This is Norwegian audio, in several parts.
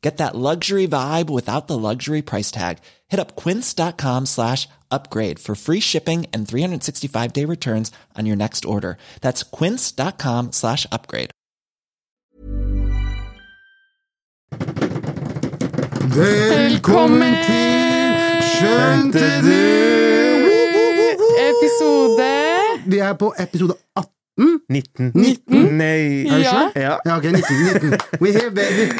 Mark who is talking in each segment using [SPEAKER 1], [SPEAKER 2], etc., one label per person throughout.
[SPEAKER 1] Get that luxury vibe without the luxury price tag. Hit up quince.com slash upgrade for free shipping and 365 day returns on your next order. That's quince.com slash upgrade.
[SPEAKER 2] Velkommen til Skjønte du?
[SPEAKER 3] Episode
[SPEAKER 2] Vi er på episode 18.
[SPEAKER 4] 19.
[SPEAKER 2] 19?
[SPEAKER 4] Nei.
[SPEAKER 3] Er det Ja. sant?
[SPEAKER 4] ja.
[SPEAKER 2] Ja, ok, 19. 19. We're here, baby.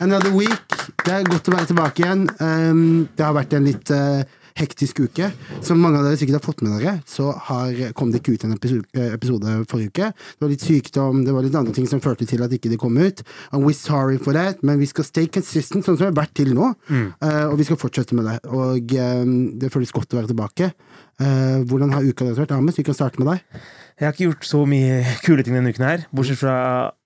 [SPEAKER 2] Another week. Det er godt å være tilbake igjen. Um, det har vært en litt eh, hektisk uke. Som mange av dere sikkert har fått med dere, så har, kom det ikke ut en episode, episode forrige uke. Det var litt sykdom, det var litt andre ting som førte til at ikke det kom ut. And we're sorry for that, men vi skal stay consistent, sånn som vi har vært til nå.
[SPEAKER 4] Mm.
[SPEAKER 2] Eh, og vi skal fortsette med det. Og eh, det føles godt å være tilbake. Eh, hvordan har uka deres vært? Ahmed, vi kan starte med deg.
[SPEAKER 4] Jeg har ikke gjort så mye kule ting denne uken her, bortsett fra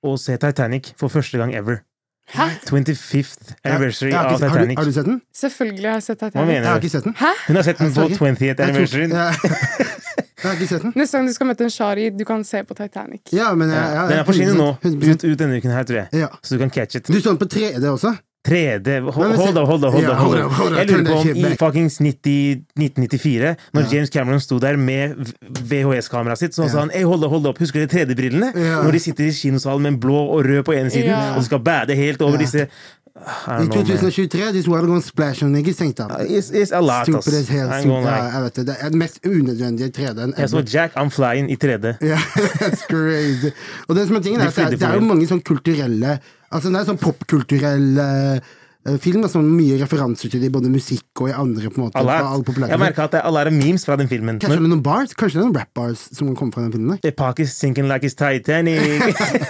[SPEAKER 4] å se Titanic for første gang ever.
[SPEAKER 3] Hæ?
[SPEAKER 4] 25th anniversary
[SPEAKER 2] Jeg har ikke
[SPEAKER 4] av
[SPEAKER 2] sett- har, du,
[SPEAKER 4] Titanic.
[SPEAKER 2] har du sett den?
[SPEAKER 3] Selvfølgelig har jeg sett
[SPEAKER 4] Hva
[SPEAKER 3] Titanic.
[SPEAKER 2] Jeg har
[SPEAKER 4] mener du?
[SPEAKER 2] ikke sett den.
[SPEAKER 3] Hæ?
[SPEAKER 4] Hun har sett den på
[SPEAKER 2] Jeg tror-
[SPEAKER 4] 20th
[SPEAKER 2] Jeg tror-
[SPEAKER 4] anniversary.
[SPEAKER 2] Ja. Jeg har ikke sett den.
[SPEAKER 3] Neste gang du skal møte en shari, du kan se på Titanic.
[SPEAKER 2] Ja, men jeg, jeg,
[SPEAKER 4] Den er på kino nå.
[SPEAKER 2] 100%.
[SPEAKER 4] Ut, ut denne uken her, tror jeg.
[SPEAKER 2] Ja.
[SPEAKER 4] Så du kan catch it.
[SPEAKER 2] Du så den på 3D også?
[SPEAKER 4] 3D
[SPEAKER 2] Nei,
[SPEAKER 4] Hold
[SPEAKER 2] men se-
[SPEAKER 4] hold up, hold up, hold
[SPEAKER 2] Ja,
[SPEAKER 4] up.
[SPEAKER 2] hold
[SPEAKER 4] Hold
[SPEAKER 2] up, hold
[SPEAKER 4] up.
[SPEAKER 2] up,
[SPEAKER 4] Jeg
[SPEAKER 2] turn
[SPEAKER 4] lurer på
[SPEAKER 2] that
[SPEAKER 4] om
[SPEAKER 2] shit
[SPEAKER 4] i
[SPEAKER 2] back.
[SPEAKER 4] fuckings 90, 1994, når
[SPEAKER 2] Ja.
[SPEAKER 4] James Cameron sto der med VHS-kameraet sitt, så
[SPEAKER 2] Ja.
[SPEAKER 4] sa han Ei, hold up, hold up, husker dere 3D-brillene?
[SPEAKER 2] Ja.
[SPEAKER 4] Når de sitter i kinosalen med en blå og rød på ene siden,
[SPEAKER 3] Ja.
[SPEAKER 4] og de skal bade helt over
[SPEAKER 2] Ja.
[SPEAKER 4] disse
[SPEAKER 2] I 2023 This water gonna splash on niggas, tenkte han.
[SPEAKER 4] It's, it's a lot, ass.
[SPEAKER 2] Stupid as hell.
[SPEAKER 4] I'm
[SPEAKER 2] Stupid.
[SPEAKER 4] gonna
[SPEAKER 2] Ja,
[SPEAKER 4] lie.
[SPEAKER 2] jeg vet det. Det er den mest unødvendige 3D-en
[SPEAKER 4] Jeg så
[SPEAKER 2] ever.
[SPEAKER 4] Jack I'm Flying i 3D.
[SPEAKER 2] Ja, that's crazy. Og det som er tingen er,
[SPEAKER 4] De
[SPEAKER 2] at det, er,
[SPEAKER 4] flydde
[SPEAKER 2] det er jo
[SPEAKER 4] forbi.
[SPEAKER 2] mange sånn kulturelle Altså det er sånn popkulturell eh, film, og sånn mye referanser til det i både musikk og i andre på en måte.
[SPEAKER 4] Alle
[SPEAKER 2] fra all
[SPEAKER 4] er,
[SPEAKER 2] populær-
[SPEAKER 4] jeg merka at det er alle er memes fra den filmen.
[SPEAKER 2] Kanskje det er noen bars? Kanskje det er noen rap-bars som kan komme fra den filmen? der?
[SPEAKER 4] Men Pakis sinking like it's Titanic.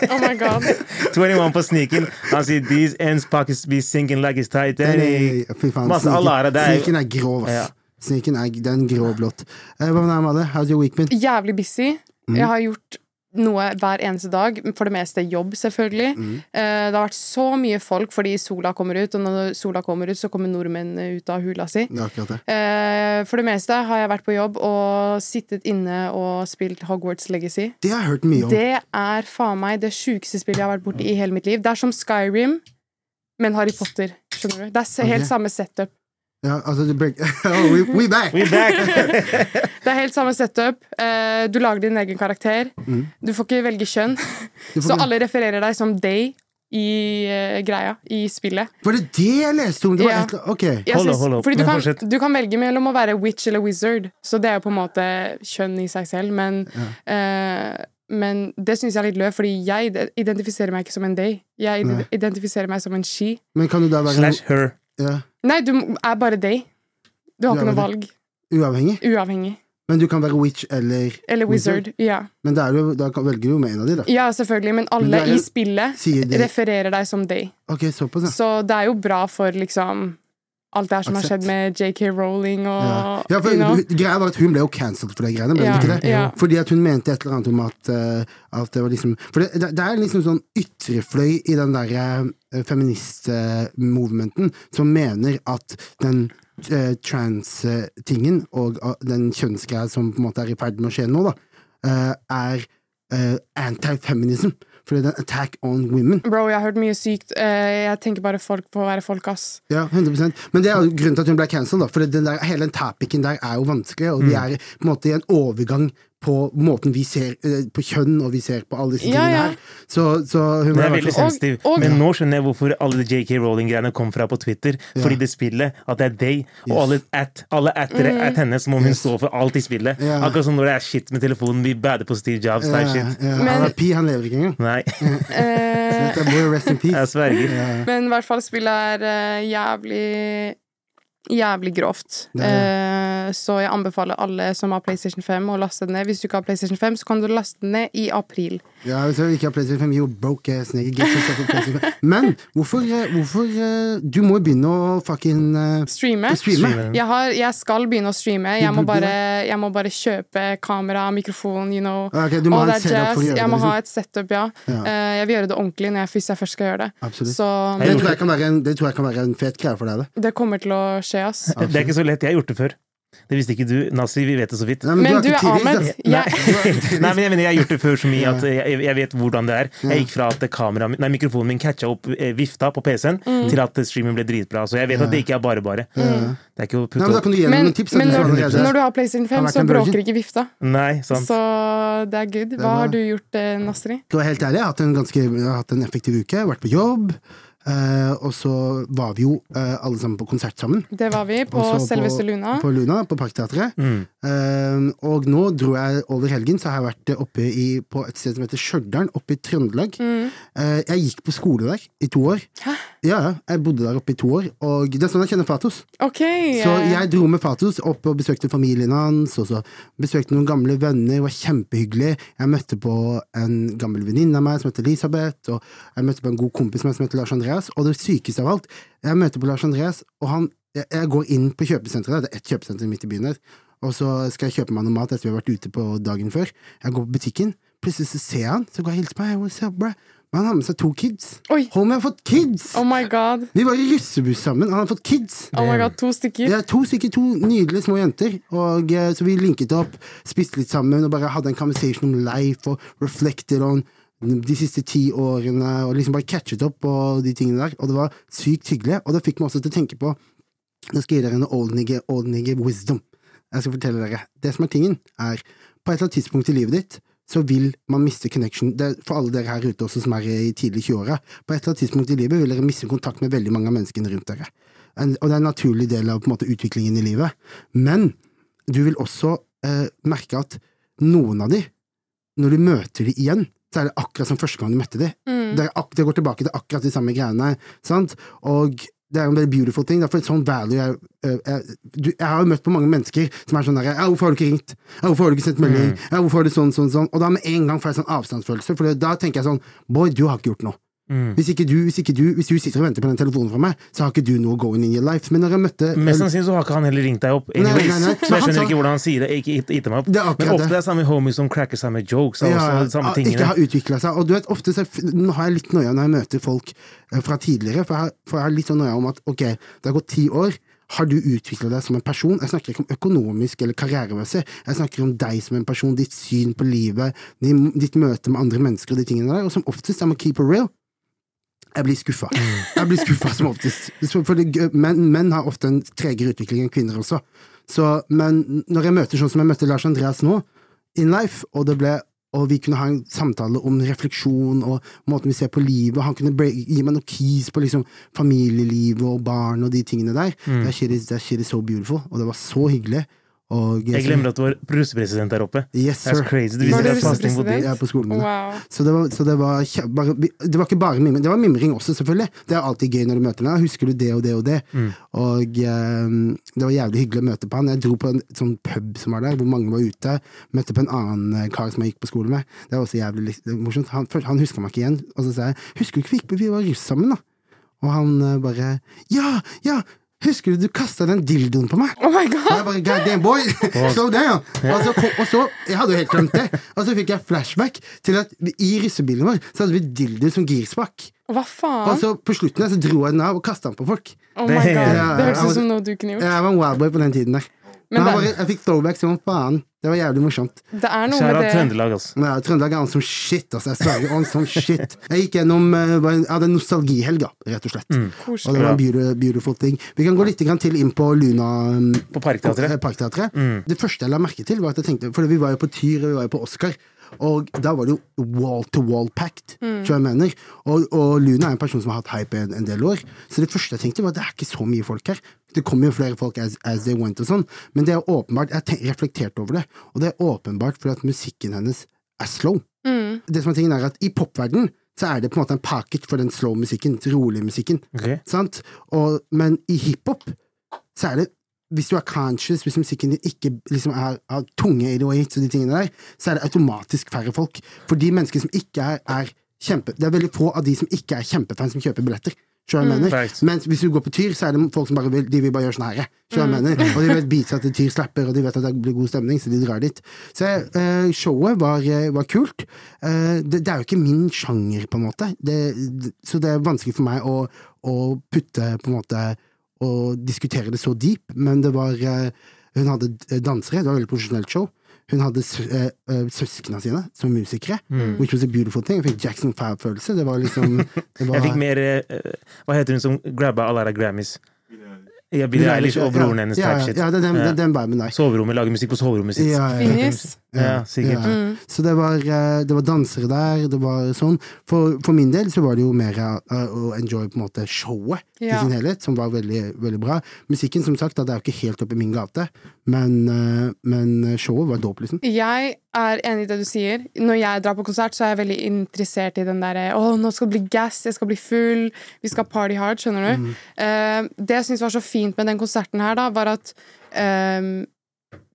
[SPEAKER 3] Oh my god.
[SPEAKER 4] 21 på sneaken. Han sier these ends Pakis be sinking like it's Titanic.
[SPEAKER 2] Fy faen,
[SPEAKER 4] Masse
[SPEAKER 2] sniken-
[SPEAKER 4] alle er det. er
[SPEAKER 2] Sniken
[SPEAKER 4] jo-
[SPEAKER 2] er grov, ass.
[SPEAKER 4] Ja.
[SPEAKER 2] Sniken er, det er en grå blått. Eh, Hva med deg, Madde? How's your week been?
[SPEAKER 3] Jævlig busy.
[SPEAKER 4] Mm.
[SPEAKER 3] Jeg har gjort noe hver eneste dag. For det meste jobb, selvfølgelig.
[SPEAKER 4] Mm.
[SPEAKER 3] Eh, Det har vært så mye folk fordi sola kommer ut, og når sola kommer ut, så kommer nordmenn ut av hula si.
[SPEAKER 2] Det er akkurat det.
[SPEAKER 3] Eh, For det meste har jeg vært på jobb og sittet inne og spilt Hogwarts Legacy.
[SPEAKER 2] Det har jeg hørt mye om.
[SPEAKER 3] Det er faen meg det sjukeste spillet jeg har vært borti i hele mitt liv. Det er som Skyrim, men Harry Potter. Skjønner du? Det er s- helt
[SPEAKER 2] Ok.
[SPEAKER 3] samme setup.
[SPEAKER 2] Ja, altså, det break... oh, we, we back!
[SPEAKER 4] We back!
[SPEAKER 3] Det er helt samme setup. Eh, Du lager din egen karakter.
[SPEAKER 2] Mm.
[SPEAKER 3] Du får ikke velge kjønn.
[SPEAKER 2] Du får-
[SPEAKER 3] Så alle refererer deg som they i eh, greia, i spillet.
[SPEAKER 2] Var det det jeg leste om? Det var
[SPEAKER 3] Ja.
[SPEAKER 2] et eller- Ok.
[SPEAKER 3] Jeg
[SPEAKER 4] Hold up, hold up.
[SPEAKER 3] fordi du
[SPEAKER 4] Men
[SPEAKER 3] kan,
[SPEAKER 4] fortsett.
[SPEAKER 3] du kan velge mellom å være witch eller wizard, så det er jo på en måte kjønn i seg selv, men, eh, men det syns jeg er litt løv, fordi jeg ide- identifiserer meg ikke som en they. Jeg ide-
[SPEAKER 2] Nei.
[SPEAKER 3] identifiserer meg som en she.
[SPEAKER 2] Men kan du da være
[SPEAKER 4] Slash her.
[SPEAKER 2] ja,
[SPEAKER 3] Nei, du m- er bare they. Du har
[SPEAKER 2] Du
[SPEAKER 3] ikke
[SPEAKER 2] er
[SPEAKER 3] noe
[SPEAKER 2] bare
[SPEAKER 3] valg.
[SPEAKER 2] uavhengig?
[SPEAKER 3] Uavhengig.
[SPEAKER 2] Men du kan være witch eller
[SPEAKER 3] Eller wizard. Ja.
[SPEAKER 2] Men da, er du, da kan, velger du jo med en av de, da.
[SPEAKER 3] ja, selvfølgelig, men alle
[SPEAKER 2] Men du er
[SPEAKER 3] i
[SPEAKER 2] jo-
[SPEAKER 3] spillet
[SPEAKER 2] Sier de Ah.
[SPEAKER 3] refererer deg som they.
[SPEAKER 2] Ok, såpass, ja.
[SPEAKER 3] Så det er jo bra for liksom alt det her som har
[SPEAKER 2] Aksept.
[SPEAKER 3] skjedd med JK Rowling og
[SPEAKER 2] Ja. ja, for
[SPEAKER 3] you know.
[SPEAKER 2] hun- Greia var at hun ble jo cancelled for de greiene. Ble
[SPEAKER 3] Ja,
[SPEAKER 2] hun ikke det?
[SPEAKER 3] ja.
[SPEAKER 2] Fordi at hun mente et eller annet om at, eh, at det var liksom For det, det, det er liksom sånn ytrefløy i den derre feminist-movementen som mener at den eh, trans-tingen og eh, den kjønnsgreia som på en måte er i ferd med å skje nå, da, eh, er eh, anti-feminism. Fordi det er en attack on women.
[SPEAKER 3] Bro, jeg har hørt mye sykt. Eh, jeg tenker bare folk på å være folk, ass.
[SPEAKER 2] Ja, 100 Men det er jo grunnen til at hun ble cancelled, da. For den der, hele den topicen der er jo vanskelig, og
[SPEAKER 3] Mm.
[SPEAKER 2] vi er på en måte i en overgang på måten vi ser eh, på kjønn, og vi ser på alle disse
[SPEAKER 3] Ja,
[SPEAKER 2] tingene
[SPEAKER 3] ja.
[SPEAKER 2] her. Så, så hun sånn,
[SPEAKER 4] Den
[SPEAKER 2] ble
[SPEAKER 4] er veldig
[SPEAKER 3] Og-
[SPEAKER 4] sensitiv.
[SPEAKER 3] og-
[SPEAKER 4] Men nå skjønner jeg hvorfor alle de JK Rowling-greiene kom fra på Twitter. Fordi det spillet, at det er they, og alle at, alle attere
[SPEAKER 3] Mm.
[SPEAKER 4] at henne, så må hun stå for alt i spillet.
[SPEAKER 2] Ja.
[SPEAKER 4] Akkurat som når det er shit med telefonen, vi bader på Steve Jobs type
[SPEAKER 2] ja,
[SPEAKER 4] shit.
[SPEAKER 2] eh, ja,
[SPEAKER 3] Men-
[SPEAKER 2] RIP, han lever ikke engang.
[SPEAKER 4] Nei,
[SPEAKER 3] Eh,
[SPEAKER 2] Dette må jo rest in
[SPEAKER 4] jeg
[SPEAKER 2] peace.
[SPEAKER 4] sverger.
[SPEAKER 3] men i hvert fall spillet er eh, jævlig Jævlig grovt.
[SPEAKER 2] Det er
[SPEAKER 3] Eh, Så jeg anbefaler alle som har PlayStation 5, å laste den ned. Hvis du ikke har PlayStation 5, så kan du laste den ned i april.
[SPEAKER 2] Ja, hvis jeg ikke har PlayStation 5, jo, broke ass nigga, get yourself a PlayStation 5. Men hvorfor, eh, hvorfor eh, Du må jo begynne å fucking eh,
[SPEAKER 3] Streame.
[SPEAKER 2] streame.
[SPEAKER 3] Jeg, har, jeg skal begynne å streame. Jeg må
[SPEAKER 2] burde
[SPEAKER 3] bare, jeg må bare kjøpe kamera, mikrofon, you know.
[SPEAKER 2] Ok, du må
[SPEAKER 3] All
[SPEAKER 2] ha et
[SPEAKER 3] that
[SPEAKER 2] setup for å
[SPEAKER 3] jazz.
[SPEAKER 2] gjøre
[SPEAKER 3] Jeg må
[SPEAKER 2] det,
[SPEAKER 3] ha
[SPEAKER 2] liksom.
[SPEAKER 3] et setup, ja.
[SPEAKER 2] Ja.
[SPEAKER 3] Eh, Jeg vil gjøre det ordentlig når jeg, hvis jeg først skal gjøre det.
[SPEAKER 2] Absolutt.
[SPEAKER 3] Så
[SPEAKER 4] Jeg
[SPEAKER 2] Det
[SPEAKER 4] gjorde
[SPEAKER 2] tror jeg kan være en, det tror jeg kan være en fet greie for deg, det.
[SPEAKER 3] det kommer til å skje, ass.
[SPEAKER 4] Det er ikke så lett. Jeg har gjort det før. Det visste ikke du, Nazi. Vi vet det så vidt.
[SPEAKER 2] Nei,
[SPEAKER 3] Men du
[SPEAKER 2] ikke
[SPEAKER 3] er
[SPEAKER 2] tidlig,
[SPEAKER 3] Ahmed.
[SPEAKER 2] da.
[SPEAKER 3] Jeg,
[SPEAKER 4] Nei, men jeg, mener, jeg har gjort det før så mye at jeg, jeg vet hvordan det er. Jeg gikk fra at kameraet min- nei, mikrofonen min catcha opp eh, vifta på PC-en,
[SPEAKER 2] Mm.
[SPEAKER 4] til at streamen ble dritbra. Så jeg vet at det ikke er bare bare. Det er ikke å
[SPEAKER 2] Nei,
[SPEAKER 4] putte
[SPEAKER 2] men da
[SPEAKER 4] opp
[SPEAKER 2] kan du gi henne
[SPEAKER 3] men
[SPEAKER 2] noen tips. da,
[SPEAKER 3] men
[SPEAKER 2] du
[SPEAKER 3] når,
[SPEAKER 2] som allerede-
[SPEAKER 3] når du har PlayStation
[SPEAKER 2] Har
[SPEAKER 3] 5,
[SPEAKER 2] vært
[SPEAKER 3] så
[SPEAKER 2] en virgin.
[SPEAKER 3] bråker ikke vifta.
[SPEAKER 4] Nei, sant.
[SPEAKER 3] Så det er good. Hva
[SPEAKER 2] var-
[SPEAKER 3] har du gjort, eh, Nasri?
[SPEAKER 2] Skal være helt ærlig, jeg har hatt en ganske jeg har hatt en effektiv uke. Vært på jobb. eh, og så var vi jo eh, alle sammen på konsert sammen.
[SPEAKER 3] Det var vi på
[SPEAKER 2] Og så
[SPEAKER 3] selveste Luna.
[SPEAKER 2] På Luna, på Parkteatret. Eh, og nå dro jeg over helgen, så har jeg vært oppe i, på et sted som heter Stjørdal, oppe i Trøndelag.
[SPEAKER 3] Mm.
[SPEAKER 2] Eh, jeg gikk på skole der i to år. Hæ? Ja, ja, jeg bodde der oppe i to år, og det er sånn jeg kjenner Fatos.
[SPEAKER 3] Ok.
[SPEAKER 2] Så
[SPEAKER 3] eh,
[SPEAKER 2] jeg dro med Fatos opp og besøkte familien hans, og så besøkte noen gamle venner, det var kjempehyggelig. Jeg møtte på en gammel venninne av meg som heter Elisabeth, og jeg møtte på en god kompis av meg som heter Lars Andreas, og det sykeste av alt, jeg møter på Lars Andreas, og han, jeg, jeg går inn på kjøpesenteret, der, det er ett kjøpesenter midt i byen der, og så skal jeg kjøpe meg noe mat etter vi har vært ute på dagen før. Jeg går på butikken, plutselig så ser jeg han, så går jeg og hilser på meg, what's up, bro? Men han har med seg to kids.
[SPEAKER 3] eh, Oi.
[SPEAKER 2] Homie har fått kids!
[SPEAKER 3] Oh my god.
[SPEAKER 2] Vi var i russebuss sammen, han har fått kids!
[SPEAKER 3] Oh my god, to
[SPEAKER 2] Det
[SPEAKER 3] stykker.
[SPEAKER 2] er to stykker, to nydelige små jenter. Og, eh, så vi linket opp, spiste litt sammen og bare hadde en conversation om life og reflected on de siste ti årene. Og liksom bare catchet opp på de tingene der. Og det var sykt hyggelig. Og det fikk meg også til å tenke på Nå skal jeg gi dere en old nigger, old nigger wisdom. Jeg skal fortelle dere. Det som er tingen, er på et eller annet tidspunkt i livet ditt så vil man miste connection. Det er for alle dere her ute også som er i tidlig 20-åra. På et eller annet tidspunkt i livet vil dere miste kontakt med veldig mange av menneskene rundt dere. En, og det er en naturlig del av på en måte, utviklingen i livet. Men du vil også eh, merke at noen av de, når du møter de igjen, så er det akkurat som første gang du møtte de. Det, er ak det går tilbake til akkurat de samme greiene. Sant? Og det er en veldig beautiful ting. Derfor sånn value jeg, øh, jeg, du, jeg har jo møtt på mange mennesker som er sånn der ja, 'Hvorfor har du ikke ringt? Ja, hvorfor har du ikke sendt melding? Ja, hvorfor har du sånn, sånn, sånn?' Og da med en gang får jeg sånn avstandsfølelse, for da tenker jeg sånn 'Boy, du har ikke gjort noe'. Hvis ikke du, hvis ikke du, hvis du sitter og venter på den telefonen fra meg, så har ikke du noe going in your life. Men når jeg møtte
[SPEAKER 4] Mest sannsynlig så har ikke han heller ringt deg opp.
[SPEAKER 2] nei,
[SPEAKER 4] Anyways,
[SPEAKER 2] nei, nei. Men
[SPEAKER 4] Så jeg
[SPEAKER 2] han
[SPEAKER 4] skjønner
[SPEAKER 2] sa-
[SPEAKER 4] ikke hvordan han sier det. Ikke hit- hit dem opp.
[SPEAKER 2] Det er akkurat
[SPEAKER 4] Men ofte
[SPEAKER 2] det.
[SPEAKER 4] det er samme homies som cracker samme jokes. Og
[SPEAKER 2] Ja,
[SPEAKER 4] også de samme
[SPEAKER 2] ja, ikke
[SPEAKER 4] tingene.
[SPEAKER 2] har utvikla seg. Og du vet, ofte så f- nå har jeg litt nøya når jeg møter folk eh, fra tidligere, for jeg, har- for jeg har litt sånn nøya om at ok, det har gått ti år. Har du utvikla deg som en person? Jeg snakker ikke om økonomisk eller karrieremessig. Jeg snakker om deg som en person, ditt syn på livet, din- ditt møte med andre mennesker og de tingene der. Og som oftest, jeg må keep it real. Jeg blir skuffa.
[SPEAKER 4] Mm.
[SPEAKER 2] Jeg blir skuffa som oftest. Så- Fordi gø- menn, menn har ofte en tregere utvikling enn kvinner også. Så, men når jeg møter sånn som jeg møtte Lars Andreas nå, in life, og det ble og vi kunne ha en samtale om refleksjon og måten vi ser på livet. Han kunne bre- gi meg noen keys på liksom familielivet og barn og de tingene der.
[SPEAKER 4] Mm.
[SPEAKER 2] That, shit is, that shit is so beautiful. Og det var så hyggelig. Og,
[SPEAKER 4] Jeg glemmer at du var russepresident der oppe.
[SPEAKER 2] Yes,
[SPEAKER 4] That's
[SPEAKER 2] sir.
[SPEAKER 4] crazy. Du
[SPEAKER 2] Var
[SPEAKER 4] viser
[SPEAKER 2] du
[SPEAKER 4] deg fasting på
[SPEAKER 3] russepresident?
[SPEAKER 4] det.
[SPEAKER 2] Jeg er på skolen min. da.
[SPEAKER 3] Wow.
[SPEAKER 2] Så det var, så det var, kje- bare, det var ikke bare mimring, det var mimring også, selvfølgelig. Det er alltid gøy når du møter ham. Husker du det og det og det? Og ehm, det var jævlig hyggelig å møte på han. Jeg dro på en sånn pub som var der, hvor mange var ute. Møtte på en annen eh, kar som jeg gikk på skole med. Det var også jævlig litt- det var morsomt. Han, først- han huska meg ikke igjen. Og så sa jeg 'Husker du ikke vi gikk på vi var russ sammen', da? Og han eh, bare 'Ja, ja, husker du du kasta den dildoen på meg?'
[SPEAKER 3] Oh my
[SPEAKER 2] Og
[SPEAKER 3] god.
[SPEAKER 2] jeg bare, God damn boy, slow down og så, kom, og så, jeg hadde jo helt glemt det Og så fikk jeg flashback til at vi- I russebilen vår så hadde vi dildo som girspak
[SPEAKER 3] Hva
[SPEAKER 2] Og
[SPEAKER 3] faen?
[SPEAKER 2] så på slutten der så dro jeg den av og kastet den på folk
[SPEAKER 3] Oh my god.
[SPEAKER 2] Ja,
[SPEAKER 3] Det hørtes
[SPEAKER 2] ja,
[SPEAKER 3] ut som noe du kunne gjort.
[SPEAKER 2] Jeg var en wildboy på den tiden der
[SPEAKER 3] Men
[SPEAKER 2] Men jeg, bare,
[SPEAKER 3] det-
[SPEAKER 2] jeg fikk throwback som faen Det var jævlig morsomt
[SPEAKER 3] Det er noe
[SPEAKER 4] Kjære
[SPEAKER 3] med det.
[SPEAKER 4] Trøndelag, altså.
[SPEAKER 2] Men jeg, Trøndelag er on som shit, altså Jeg sverger on som shit Jeg gikk gjennom, eh, var en- jeg hadde en nostalgihelg da, rett og slett Og det
[SPEAKER 3] Koselig.
[SPEAKER 2] var en beautiful, beautiful ting Vi kan gå litt grann til inn på Luna mm,
[SPEAKER 4] På Parkteatret.
[SPEAKER 2] Eh, Parkteatret. Det første jeg la merke til, var at jeg tenkte For vi var jo på Tyr, og vi var jo på Oscar. Og da var det jo wall-to-wall-packed, tror jeg jeg mener. Og, og Luna er en person som har hatt hype en, en del år. Så det første jeg tenkte, var at det er ikke så mye folk her. Det kommer jo flere folk as, as they went og sånn. Men det er åpenbart, jeg tenk, reflekterte over det, og det er åpenbart fordi at musikken hennes er slow. Det som er tingen er at I popverdenen så er det på en måte en packet for den slow musikken, rolig musikken.
[SPEAKER 4] Ok.
[SPEAKER 2] Sant? Og, men i hiphop så er det hvis du er conscious, hvis musikken din ikke liksom er av tunge ADOH og de tingene der, så er det automatisk færre folk. For de menneskene som ikke er, er kjempe... Det er veldig få av de som ikke er kjempefans, som kjøper billetter. Skjønner du hva jeg
[SPEAKER 4] Facts.
[SPEAKER 2] mener? Mens hvis du går på Tyr, så er det folk som bare vil, de vil bare gjøre sånn her. Skjønner du hva jeg
[SPEAKER 4] Mm.
[SPEAKER 2] mener? Og de vet beats at Tyr slapper, og de vet at det blir god stemning, så de drar dit. Så eh, showet var, eh, var kult. Eh, det, det er jo ikke min sjanger, på en måte. Det, det, så det er vanskelig for meg å, å putte på en måte og diskutere det så deep, men det var eh, Hun hadde eh, dansere, det var et veldig profesjonelt show. Hun hadde sø- eh, eh, søsknene sine som musikere,
[SPEAKER 4] Mm.
[SPEAKER 2] which was a beautiful thing. Jeg fikk Jackson Fab-følelse. Det var liksom det var,
[SPEAKER 4] Jeg fikk mer eh, eh, Hva heter hun som grabba Alara Grammys? Ja, Billie Eilish og broren hennes
[SPEAKER 2] ja,
[SPEAKER 4] type
[SPEAKER 2] ja,
[SPEAKER 4] shit.
[SPEAKER 2] ja, det er den,
[SPEAKER 4] Ja.
[SPEAKER 2] det er den viben der.
[SPEAKER 4] Soverommet lager musikk på soverommet sitt.
[SPEAKER 2] Ja, ja, ja.
[SPEAKER 3] Phineas.
[SPEAKER 4] Ja, sikkert.
[SPEAKER 2] Ja.
[SPEAKER 3] Mm.
[SPEAKER 2] Så det var, eh, det var dansere der, det var sånn. For, for min del så var det jo mer eh, å enjoy på en måte showet i
[SPEAKER 3] Ja.
[SPEAKER 2] sin helhet, som var veldig, veldig bra. Musikken, som sagt, da, det er jo ikke helt oppe i min gate, men, eh, men showet var dope, liksom.
[SPEAKER 3] Jeg er enig i det du sier. Når jeg drar på konsert, så er jeg veldig interessert i den derre Å, nå skal det bli gass, jeg skal bli full, vi skal party hard, skjønner du? Eh, det jeg syns var så fint med den konserten her, da, var at ehm,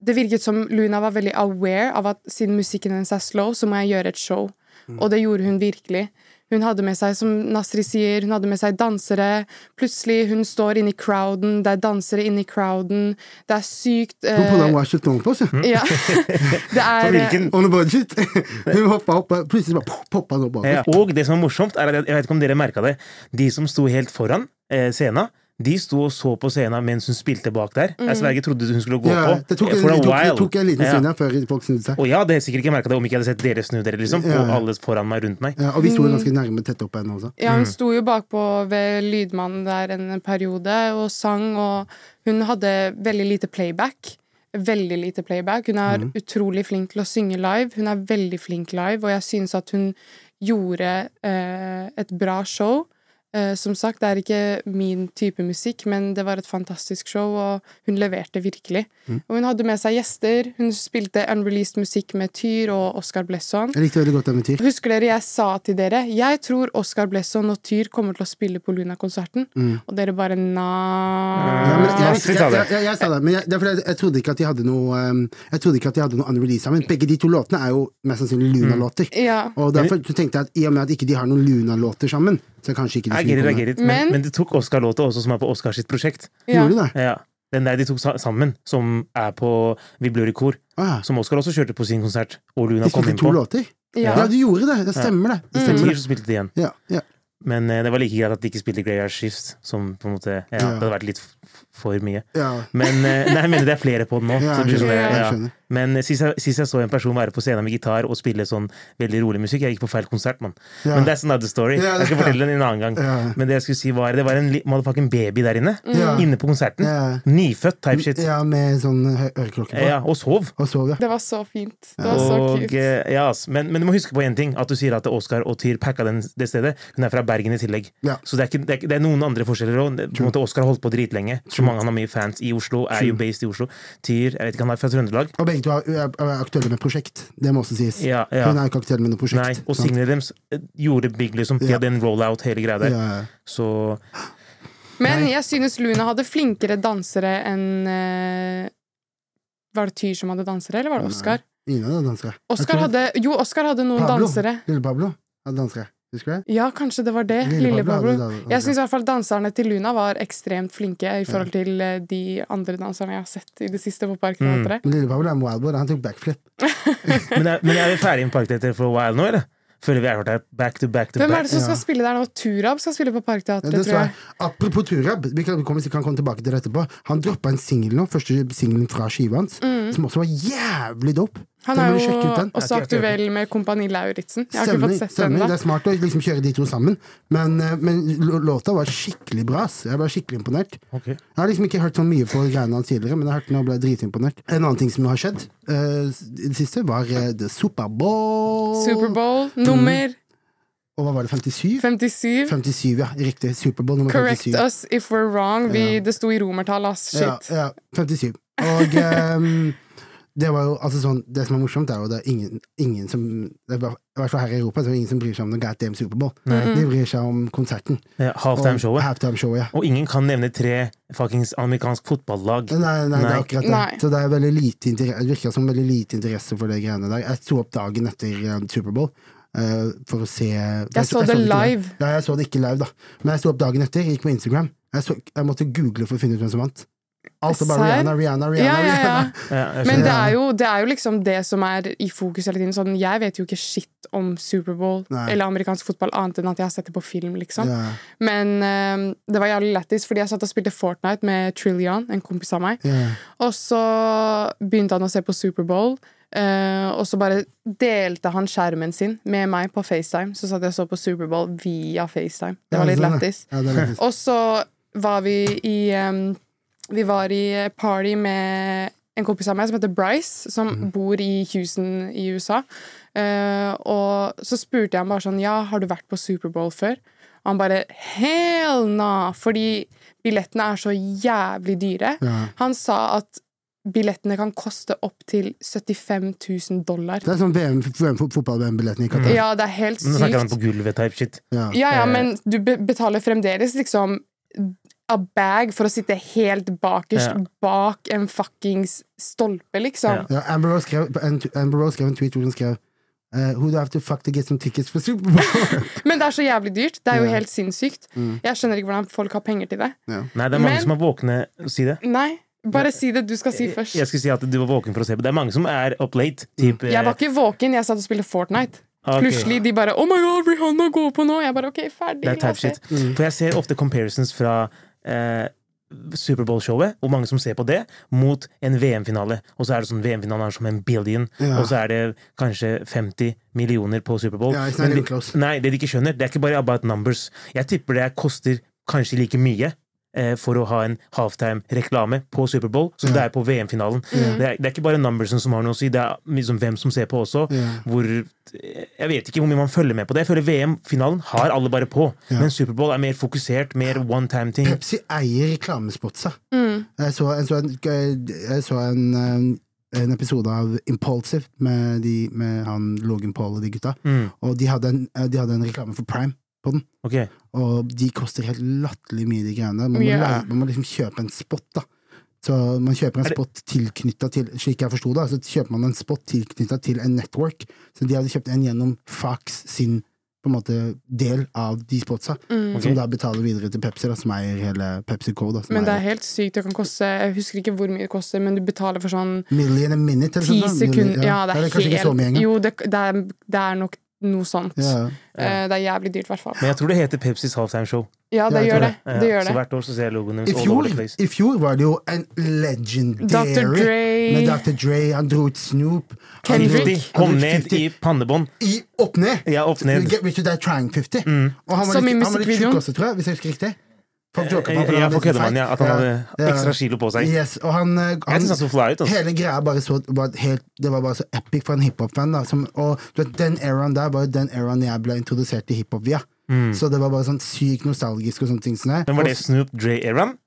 [SPEAKER 3] det virket som Luna var veldig aware av at siden musikken hennes er slow, så må jeg gjøre et show. Og det gjorde hun virkelig. Hun hadde med seg, som Nasri sier, hun hadde med seg dansere. Plutselig, hun står inni crowden, det er dansere inni crowden. Det er sykt eh,
[SPEAKER 2] Hun på den var kjøpt noen på oss, ja.
[SPEAKER 3] ja. Det er
[SPEAKER 4] Mm.
[SPEAKER 2] On a budget. Hun hoppa opp, og plutselig bare pop- poppa hun opp bak.
[SPEAKER 4] Ja, og det som er morsomt, er at jeg vet ikke om dere merka det, de som sto helt foran eh, scenen, de sto og så på scenen mens hun spilte bak der. Altså, Jeg sverger trodde hun skulle gå
[SPEAKER 2] Ja,
[SPEAKER 4] på.
[SPEAKER 2] det tok,
[SPEAKER 4] eh,
[SPEAKER 2] en-
[SPEAKER 4] for a
[SPEAKER 2] det tok, det
[SPEAKER 4] while.
[SPEAKER 2] tok en liten
[SPEAKER 4] Ja.
[SPEAKER 2] stund der før folk snudde seg.
[SPEAKER 4] Og jeg hadde sikkert ikke merka det om ikke jeg hadde sett dere snu dere, liksom.
[SPEAKER 2] Ja,
[SPEAKER 4] Og
[SPEAKER 2] ja.
[SPEAKER 4] alle foran meg, rundt meg.
[SPEAKER 2] Ja, og vi sto
[SPEAKER 3] Mm.
[SPEAKER 2] jo ganske nærme tett opp henne også.
[SPEAKER 3] Ja, hun sto jo bakpå ved lydmannen der en periode og sang, og hun hadde veldig lite playback. Veldig lite playback. Hun er utrolig flink til å synge live. Hun er veldig flink live, og jeg synes at hun gjorde eh, et bra show. Eh, som sagt, det er ikke min type musikk, men det var et fantastisk show, og hun leverte virkelig. Og hun hadde med seg gjester. Hun spilte unreleased musikk med Tyr og Oscar Blesson.
[SPEAKER 2] Jeg likte veldig godt den med Tyr.
[SPEAKER 3] Husker dere jeg sa til dere Jeg tror Oscar Blesson og Tyr kommer til å spille på Luna-konserten.
[SPEAKER 2] Mm.
[SPEAKER 3] Og dere bare
[SPEAKER 2] Ja, men
[SPEAKER 3] nei.
[SPEAKER 2] jeg,
[SPEAKER 4] Astrid sa
[SPEAKER 2] jeg,
[SPEAKER 4] det.
[SPEAKER 2] jeg, jeg, jeg sa det, men jeg, det er fordi jeg, jeg trodde ikke at de hadde noe um, Jeg trodde ikke at de hadde noe unreleased sammen. Begge de to låtene er jo mest sannsynlig Luna-låter.
[SPEAKER 3] Mm. Ja.
[SPEAKER 2] Og derfor så tenkte jeg at i og med at ikke de har noen Luna-låter sammen, så kanskje ikke de skulle
[SPEAKER 4] Jeg gidder, jeg
[SPEAKER 2] komme.
[SPEAKER 4] gidder. Men,
[SPEAKER 3] Men-
[SPEAKER 4] men de tok Oscar-låta også, som er på Oscars sitt prosjekt.
[SPEAKER 3] Ja.
[SPEAKER 2] Gjorde de det?
[SPEAKER 4] Ja. Den der de tok sa- sammen, som er på Vi Blør i kor.
[SPEAKER 2] Ah, ja.
[SPEAKER 4] Som Oscar også kjørte på sin konsert, og Luna
[SPEAKER 2] de
[SPEAKER 4] kom
[SPEAKER 2] spilte
[SPEAKER 4] inn på. Mm.
[SPEAKER 2] to låter? Ja.
[SPEAKER 3] Ja.
[SPEAKER 2] du gjorde det! Det stemmer, det. det,
[SPEAKER 4] Etter
[SPEAKER 2] stemmer,
[SPEAKER 4] Tyr så spilte de igjen.
[SPEAKER 2] det. Ja, ja.
[SPEAKER 4] Men eh, det var like greit at de ikke spilte Greyard Shift, som på en måte ja, Det hadde vært litt f- f- for mye.
[SPEAKER 2] ja.
[SPEAKER 4] Men eh, nei, jeg mener det er flere på den nå.
[SPEAKER 2] Ja,
[SPEAKER 4] så det blir
[SPEAKER 2] jeg
[SPEAKER 4] sånn,
[SPEAKER 3] skjønner,
[SPEAKER 2] jeg
[SPEAKER 4] ja.
[SPEAKER 2] skjønner.
[SPEAKER 4] Men eh, sist jeg, sist jeg så en person være på scenen med gitar og spille sånn veldig rolig musikk Jeg gikk på feil konsert, mann.
[SPEAKER 2] Ja.
[SPEAKER 4] Men that's another story.
[SPEAKER 2] Ja,
[SPEAKER 4] Jeg skal
[SPEAKER 2] ja.
[SPEAKER 4] fortelle den en annen gang.
[SPEAKER 2] Ja.
[SPEAKER 4] Men det jeg skulle si var det var en li- motherfucking baby der inne.
[SPEAKER 2] Ja.
[SPEAKER 4] Inne på konserten.
[SPEAKER 2] Ja.
[SPEAKER 4] Nyfødt type shit.
[SPEAKER 2] Ja,
[SPEAKER 4] Ja.
[SPEAKER 2] med sånn hø- øreklokke på.
[SPEAKER 4] og sov.
[SPEAKER 2] Og sov, ja.
[SPEAKER 3] Det var så fint. Det var så
[SPEAKER 4] Og,
[SPEAKER 3] cute.
[SPEAKER 4] eh, ja, ass. men, men du må huske på én ting. At du sier at Oskar og Tyr packa den, det stedet. Hun er fra Bergen i tillegg.
[SPEAKER 2] Ja.
[SPEAKER 4] Så det er, ikke, det, er, ikke- det er noen andre forskjeller òg. Oskar har holdt på dritlenge. Så mange han har mye fans i Oslo. Er jo based i Oslo. Tyr jeg vet ikke, han er fra Trøndelag.
[SPEAKER 2] Og begge to er, er, er aktuelle med prosjekt. Det må også sies.
[SPEAKER 4] Ja, ja.
[SPEAKER 2] Hun er jo ikke aktuell med noe
[SPEAKER 4] Nei,
[SPEAKER 2] prosjekt.
[SPEAKER 4] og
[SPEAKER 2] sant?
[SPEAKER 4] singlene deres eh, gjorde big, liksom. De
[SPEAKER 2] Ja.
[SPEAKER 4] hadde en rollout, hele greia der.
[SPEAKER 2] Ja, ja.
[SPEAKER 4] Så
[SPEAKER 3] Men jeg synes Luna hadde flinkere dansere enn eh, Var det Tyr som hadde dansere, eller var det Oscar?
[SPEAKER 2] Ingen av dem danser.
[SPEAKER 3] Oscar hadde, jo, Oscar hadde noen
[SPEAKER 2] Pablo.
[SPEAKER 3] dansere.
[SPEAKER 2] Lille Pablo hadde dansere. Husker du det?
[SPEAKER 3] Ja, kanskje det var det.
[SPEAKER 2] Lille
[SPEAKER 3] Eh, Lille
[SPEAKER 2] Pablo
[SPEAKER 3] Pablo.
[SPEAKER 2] hadde dansere.
[SPEAKER 3] Jeg syns i hvert fall danserne til Luna var ekstremt flinke i forhold til eh, de andre danserne jeg har sett i det siste på Parken.
[SPEAKER 4] Mm.
[SPEAKER 3] heter det.
[SPEAKER 2] Men Lille Pablo er en wildboard. Han tok backflip.
[SPEAKER 4] Men er, men er vi ferdig med Parkteater for a while nå, eller? Føler vi er der back to back to
[SPEAKER 3] Hvem er
[SPEAKER 4] back.
[SPEAKER 3] det som skal
[SPEAKER 2] Ja.
[SPEAKER 3] spille der nå? Turab skal spille på Parkteatret,
[SPEAKER 2] Det
[SPEAKER 3] tror jeg.
[SPEAKER 2] Apropos Turab, vi kan, vi kommer- vi kan komme tilbake til det etterpå. Han droppa en singel nå, første singelen fra skiva hans, som også var jævlig dope.
[SPEAKER 3] Mm. Han
[SPEAKER 2] Den
[SPEAKER 3] er
[SPEAKER 2] må du
[SPEAKER 3] jo
[SPEAKER 2] sjekke ut den.
[SPEAKER 3] også
[SPEAKER 4] Jeg har ikke hørt
[SPEAKER 3] aktuell med Kompani Lauritzen. Jeg har ikke
[SPEAKER 2] Stemmer,
[SPEAKER 3] fått sett den
[SPEAKER 2] stemmer. Det
[SPEAKER 3] ennå.
[SPEAKER 2] er smart å liksom kjøre de to sammen, men, eh, men lå- låta var skikkelig bra. ass. Jeg ble skikkelig imponert.
[SPEAKER 4] Ok.
[SPEAKER 2] Jeg har liksom ikke hørt sånn mye på greiene hans tidligere, men jeg har hørt den og ble dritimponert. En annen ting som har skjedd eh, i det siste, var eh, The Superbowl.
[SPEAKER 3] Superbowl nummer
[SPEAKER 2] Og hva var det, 57?
[SPEAKER 3] 57.
[SPEAKER 2] 57, ja. Riktig. Superbowl nummer
[SPEAKER 3] Correct Oh,
[SPEAKER 2] 57.
[SPEAKER 3] us if we're wrong. Vi, det sto i romertall, ass. Shit.
[SPEAKER 2] Ja, ja, 57. Og ehm, det var jo, altså sånn, det som er morsomt, er jo det er ingen, ingen som det er bare, I hvert fall her i Europa så er det ingen som bryr seg om noe Gat Dame Superbowl. De bryr seg om konserten.
[SPEAKER 4] Ja, Halftime-showet.
[SPEAKER 2] Og halftime-showet, ja.
[SPEAKER 4] Og ingen kan nevne tre fuckings amerikansk fotballag.
[SPEAKER 2] Nei, nei, det er
[SPEAKER 4] Nei.
[SPEAKER 2] akkurat det.
[SPEAKER 3] Nei.
[SPEAKER 2] Så det, er veldig lite inter- det virker som veldig lite interesse for det greiene der. Jeg sto opp dagen etter eh, Superbowl eh, for å se Jeg
[SPEAKER 3] så det
[SPEAKER 2] ikke
[SPEAKER 3] live.
[SPEAKER 2] Nei, jeg så det ikke live, da. Men jeg sto opp dagen etter, gikk på Instagram. Jeg, så, jeg måtte google for å finne ut hvem som vant. Alt er bare
[SPEAKER 3] Serr?
[SPEAKER 2] Rihanna, Rihanna, Rihanna.
[SPEAKER 3] Ja, ja, ja.
[SPEAKER 2] Rihanna.
[SPEAKER 4] Ja, Eh, jeg
[SPEAKER 3] Men
[SPEAKER 4] skjønner.
[SPEAKER 3] det er, jo, det er jo liksom det som er i fokus hele tiden. Sånn, jeg vet jo ikke shit om Superbowl
[SPEAKER 2] Nei.
[SPEAKER 3] eller amerikansk fotball annet enn at jeg har sett det på film, liksom.
[SPEAKER 2] Ja,
[SPEAKER 3] Men eh, det var jævlig lættis, fordi jeg satt og spilte Fortnite med Trillion, en kompis av meg.
[SPEAKER 2] ja.
[SPEAKER 3] Og så begynte han å se på Superbowl. Uh, og så bare delte han skjermen sin med meg på FaceTime. Så satt jeg og så på Superbowl via FaceTime. Det
[SPEAKER 2] Ja,
[SPEAKER 3] var litt
[SPEAKER 2] sånn, ja.
[SPEAKER 3] lættis.
[SPEAKER 2] Ja, det er lættis.
[SPEAKER 3] Og så var vi i um, Vi var i party med en kompis av meg som heter Bryce, som bor i Houston i USA. Eh, og så spurte jeg ham bare sånn Ja, har du vært på Superbowl før? Og han bare Hell nah! Fordi billettene er så jævlig dyre.
[SPEAKER 2] Ja.
[SPEAKER 3] Han sa at billettene kan koste opptil 75 000 dollar.
[SPEAKER 2] Det er sånn VM, VM fotball-VM-billetten i Qatar.
[SPEAKER 3] Ja, det er helt
[SPEAKER 4] Nå snakker han
[SPEAKER 3] sykt.
[SPEAKER 4] på gulvet type shit.
[SPEAKER 2] Ja.
[SPEAKER 3] Ja, ja,
[SPEAKER 4] Eh.
[SPEAKER 3] men du be- betaler fremdeles liksom a bag for å sitte helt bakerst
[SPEAKER 4] Ja.
[SPEAKER 3] bak en fuckings stolpe, liksom.
[SPEAKER 2] Ja, Amber Rose skrev, en, Amber Rose skrev en tweet hvor hun skrev eh, Who do I have to fuck to get some tickets for Superbowl?
[SPEAKER 3] Men det er så jævlig dyrt. Det er jo
[SPEAKER 2] Ja.
[SPEAKER 3] helt sinnssykt.
[SPEAKER 4] Mm.
[SPEAKER 3] Jeg skjønner ikke hvordan folk har penger til det.
[SPEAKER 4] Nei, det er mange
[SPEAKER 3] Men-
[SPEAKER 4] som er våkne. Si det.
[SPEAKER 3] Nei, bare si det du skal si først. Mm.
[SPEAKER 4] Jeg skulle si at du var våken for å se på. Det er mange som er up late. Typ,
[SPEAKER 3] Jeg var ikke våken, jeg satt og spilte Fortnite.
[SPEAKER 4] Ah, Ok.
[SPEAKER 3] Plutselig de bare 'Oh my god, Rihanna går på nå!' Jeg bare 'OK, ferdig'.
[SPEAKER 4] Det
[SPEAKER 3] la
[SPEAKER 4] er type
[SPEAKER 3] oss se».
[SPEAKER 4] shit.
[SPEAKER 2] Mm.
[SPEAKER 4] For jeg ser ofte comparisons fra eh, Superbowl-showet, hvor mange som ser på det, mot en VM-finale. Og så er det sånn VM-finalen er som en billion,
[SPEAKER 2] Ja.
[SPEAKER 4] og så er det kanskje 50 millioner på Superbowl.
[SPEAKER 2] Ja, it's not
[SPEAKER 4] Men
[SPEAKER 2] even
[SPEAKER 4] de-
[SPEAKER 2] close.
[SPEAKER 4] Nei, det de ikke skjønner, det er ikke bare about numbers. Jeg tipper det koster kanskje like mye. eh, For å ha en halftime-reklame på Superbowl, som det er på VM-finalen. Det, er- det er ikke bare numbersen som har noe å si, det er liksom hvem som ser på også.
[SPEAKER 2] Ja.
[SPEAKER 4] Hvor Jeg vet ikke hvor mye man følger med på det. Jeg føler VM-finalen har alle bare på.
[SPEAKER 2] Ja.
[SPEAKER 4] Men Superbowl er mer fokusert, mer one time-ting.
[SPEAKER 2] Pepsi eier reklamespotsa.
[SPEAKER 3] Mm.
[SPEAKER 2] Jeg så, jeg så, en, jeg så en, eh, en episode av Impulsive med, de, med han Logan Paul og de gutta.
[SPEAKER 4] Mm,
[SPEAKER 2] Og de hadde, en, eh, de hadde en reklame for Prime på den.
[SPEAKER 4] ok.
[SPEAKER 2] Og de koster helt latterlig mye, de greiene. Man må,
[SPEAKER 3] Ja.
[SPEAKER 2] leie- man må liksom kjøpe en spot, da. Så man kjøper en
[SPEAKER 4] Er det-
[SPEAKER 2] spot tilknyttet til Slik jeg forsto det, så kjøper man en spot tilknyttet til en network. Så de hadde kjøpt en gjennom Fox sin på en måte del av de spotsa, som
[SPEAKER 3] Mm.
[SPEAKER 4] Ok.
[SPEAKER 2] da betaler videre til Pepsi, da, som eier hele PepsiCo. Da, som
[SPEAKER 3] Men det er
[SPEAKER 2] eier
[SPEAKER 3] helt sykt. Det kan koste Jeg husker ikke hvor mye det koster, men du betaler for sånn
[SPEAKER 2] million a minute, eller
[SPEAKER 3] ti
[SPEAKER 2] sånt, da.
[SPEAKER 3] sekunder Ja, det er,
[SPEAKER 2] kanskje ikke så mye
[SPEAKER 3] helt
[SPEAKER 2] engang.
[SPEAKER 3] Jo, det, det, er, det er nok noe sånt.
[SPEAKER 2] Ja.
[SPEAKER 3] Eh, Det er jævlig dyrt, i hvert fall.
[SPEAKER 4] Men jeg tror det heter Pepsis halftime show.
[SPEAKER 3] Ja, det
[SPEAKER 2] jeg tror
[SPEAKER 3] gjør det.
[SPEAKER 4] Ja,
[SPEAKER 3] det, gjør
[SPEAKER 4] Så
[SPEAKER 3] det.
[SPEAKER 4] hvert år så ser jeg logoen deres
[SPEAKER 2] I
[SPEAKER 4] all over
[SPEAKER 2] fjor,
[SPEAKER 4] the place.
[SPEAKER 2] I fjor var det jo en
[SPEAKER 3] Dr.
[SPEAKER 2] legendary med
[SPEAKER 3] Dre
[SPEAKER 2] Dr. Dre. Han dro ut Snoop. han dro ut-
[SPEAKER 4] 50 kom
[SPEAKER 2] han dro ut
[SPEAKER 4] ned
[SPEAKER 2] 50.
[SPEAKER 4] i pannebånd.
[SPEAKER 2] i opp ned.
[SPEAKER 4] Ja, opp ned. Mm.
[SPEAKER 2] Get me to that trying 50. Og han var
[SPEAKER 3] Som i
[SPEAKER 2] litt, han var litt
[SPEAKER 3] musikkvideoen.
[SPEAKER 2] tjukk også, tror jeg, hvis jeg husker riktig. Folk joker på han, for
[SPEAKER 4] Eh, Ja,
[SPEAKER 2] han
[SPEAKER 4] for
[SPEAKER 2] var litt
[SPEAKER 4] køddemann, ja. At han
[SPEAKER 2] feit. Ja,
[SPEAKER 4] hadde
[SPEAKER 2] ja.
[SPEAKER 4] ekstra kilo på seg.
[SPEAKER 2] Yes, og han, eh,
[SPEAKER 4] Jeg
[SPEAKER 2] han
[SPEAKER 4] synes han så fly ut, altså.
[SPEAKER 2] Hele greia bare så var helt, Det var bare så epic for en hiphop-fan. da, som- Og du vet, den eraen der var jo den eraen jeg ble introdusert til hiphop via. Så det var bare sånn sykt nostalgisk og sånne ting. Sånn
[SPEAKER 4] Mm. Men var det Snoop Dre Eran?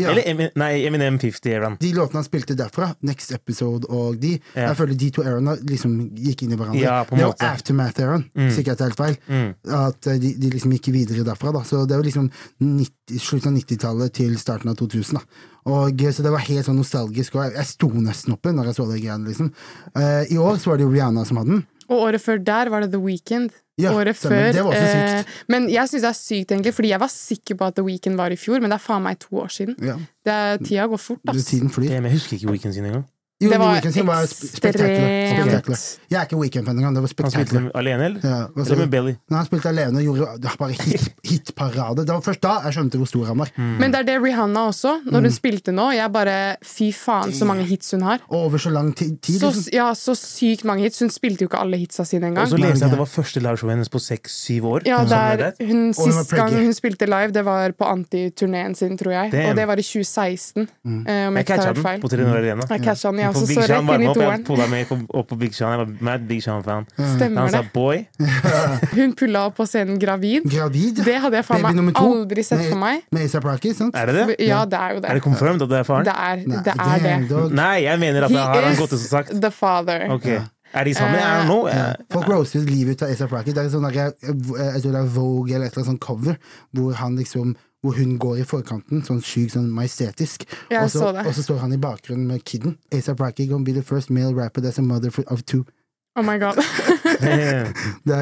[SPEAKER 2] Ja.
[SPEAKER 4] Eller Emi- nei, Eminem 50 Eran?
[SPEAKER 2] de låtene han spilte derfra, Next Episode og de,
[SPEAKER 4] Ja.
[SPEAKER 2] jeg føler de to eraene liksom gikk inn i hverandre.
[SPEAKER 4] Ja, på en
[SPEAKER 2] det var
[SPEAKER 4] måte. Mm.
[SPEAKER 2] Aftermath-eraen, sikkert helt feil. At eh, de, de liksom gikk videre derfra. da Så det var liksom 90, slutten av 90-tallet til starten av 2000. da og, eh, så det var helt sånn nostalgisk, og jeg, jeg sto nesten oppe når jeg så de greiene. liksom Eh, I år så var det jo Rihanna som hadde den.
[SPEAKER 3] Og året før der var det The Weeknd.
[SPEAKER 2] Ja,
[SPEAKER 3] året
[SPEAKER 2] stemmer.
[SPEAKER 3] før.
[SPEAKER 2] Det var også
[SPEAKER 3] eh,
[SPEAKER 2] sykt.
[SPEAKER 3] men jeg syns det er sykt, egentlig, fordi jeg var sikker på at The Weeknd var i fjor, men det er faen meg to år siden.
[SPEAKER 2] Ja,
[SPEAKER 3] Det er, tida går fort,
[SPEAKER 2] du,
[SPEAKER 3] ass.
[SPEAKER 2] tiden flyr.
[SPEAKER 4] Damn, Jeg husker ikke Weekend sin engang.
[SPEAKER 2] Jo,
[SPEAKER 3] Det
[SPEAKER 2] The
[SPEAKER 3] var
[SPEAKER 2] Weeknd sin var sp- spektakulær.
[SPEAKER 3] ekstremt.
[SPEAKER 2] Spektakulær. Jeg er ikke Weekend-fan engang. Det var
[SPEAKER 4] Han spilte
[SPEAKER 2] spektakulær.
[SPEAKER 4] dem alene, eller?
[SPEAKER 2] Ja, hva sa
[SPEAKER 4] Eller med
[SPEAKER 2] du?
[SPEAKER 4] Belly?
[SPEAKER 2] Når han spilte alene og gjorde det var bare hit, hitparade. Det var først da jeg skjønte hvor stor han var.
[SPEAKER 4] Mm.
[SPEAKER 3] Men det er det Rihanna også. Når hun spilte nå, jeg bare Fy faen, så mange hits hun har.
[SPEAKER 2] Og over så lang Mm. ti- tid.
[SPEAKER 3] Så,
[SPEAKER 2] Liksom.
[SPEAKER 3] ja, så sykt mange hits. Hun spilte jo ikke alle hitsa sine
[SPEAKER 4] Og
[SPEAKER 3] engang.
[SPEAKER 4] så leste jeg at
[SPEAKER 2] Nei,
[SPEAKER 4] det var første liveshowet hennes på seks-syv år.
[SPEAKER 3] Ja,
[SPEAKER 4] Noe sånt
[SPEAKER 3] der,
[SPEAKER 4] der.
[SPEAKER 3] hun,
[SPEAKER 2] var
[SPEAKER 3] sist gang
[SPEAKER 2] preggy.
[SPEAKER 3] hun spilte live, det var på antiturneen sin, tror jeg.
[SPEAKER 4] Damn.
[SPEAKER 3] Og det var i 2016. eh, om ikke tar
[SPEAKER 4] Jeg catcha
[SPEAKER 3] helt
[SPEAKER 4] den
[SPEAKER 3] feil.
[SPEAKER 4] på Telenor Arena.
[SPEAKER 3] Jeg catcha den, ja. jeg
[SPEAKER 4] på
[SPEAKER 3] også
[SPEAKER 4] Big
[SPEAKER 3] så
[SPEAKER 4] Sean
[SPEAKER 3] rett inn i
[SPEAKER 4] varme opp. Jeg
[SPEAKER 3] toeren.
[SPEAKER 4] pulla meg på, opp på Big Sean. Jeg var mad Big Sean-fan. Han
[SPEAKER 3] Stemmer
[SPEAKER 4] sa
[SPEAKER 3] det.
[SPEAKER 4] 'boy'.
[SPEAKER 3] Hun pulla opp på scenen gravid.
[SPEAKER 2] Gravid?
[SPEAKER 3] Det hadde jeg faen
[SPEAKER 2] Baby nummer
[SPEAKER 3] meg
[SPEAKER 2] to.
[SPEAKER 3] aldri sett
[SPEAKER 2] Med-
[SPEAKER 3] for meg.
[SPEAKER 2] Med A$AP Rocky, sant?
[SPEAKER 4] Er det det?
[SPEAKER 3] Ja, det er jo
[SPEAKER 4] Er
[SPEAKER 3] det.
[SPEAKER 4] det confirmed at det er faren?
[SPEAKER 3] Det er
[SPEAKER 2] Nei,
[SPEAKER 3] det. Er det.
[SPEAKER 2] dog.
[SPEAKER 4] Nei, jeg mener at det har han gått ut og sagt.
[SPEAKER 3] the father.
[SPEAKER 4] Ok. Er de sammen? I don't know.
[SPEAKER 2] Ja.
[SPEAKER 4] Eh,
[SPEAKER 2] Folk roaster ut livet ut av A$AP Rocky. Det er en sånn der, jeg, jeg tror det er Vogue eller et eller annet sånt cover hvor, han liksom, hvor hun går i forkanten, sånn skyg, sånn majestetisk.
[SPEAKER 3] Jeg
[SPEAKER 2] Og så
[SPEAKER 3] så det.
[SPEAKER 2] og så står han i bakgrunnen med kidden. A$AP Rocky gonna be the first male rapper that's a mother for- of two.
[SPEAKER 3] Oh my god.
[SPEAKER 2] Det er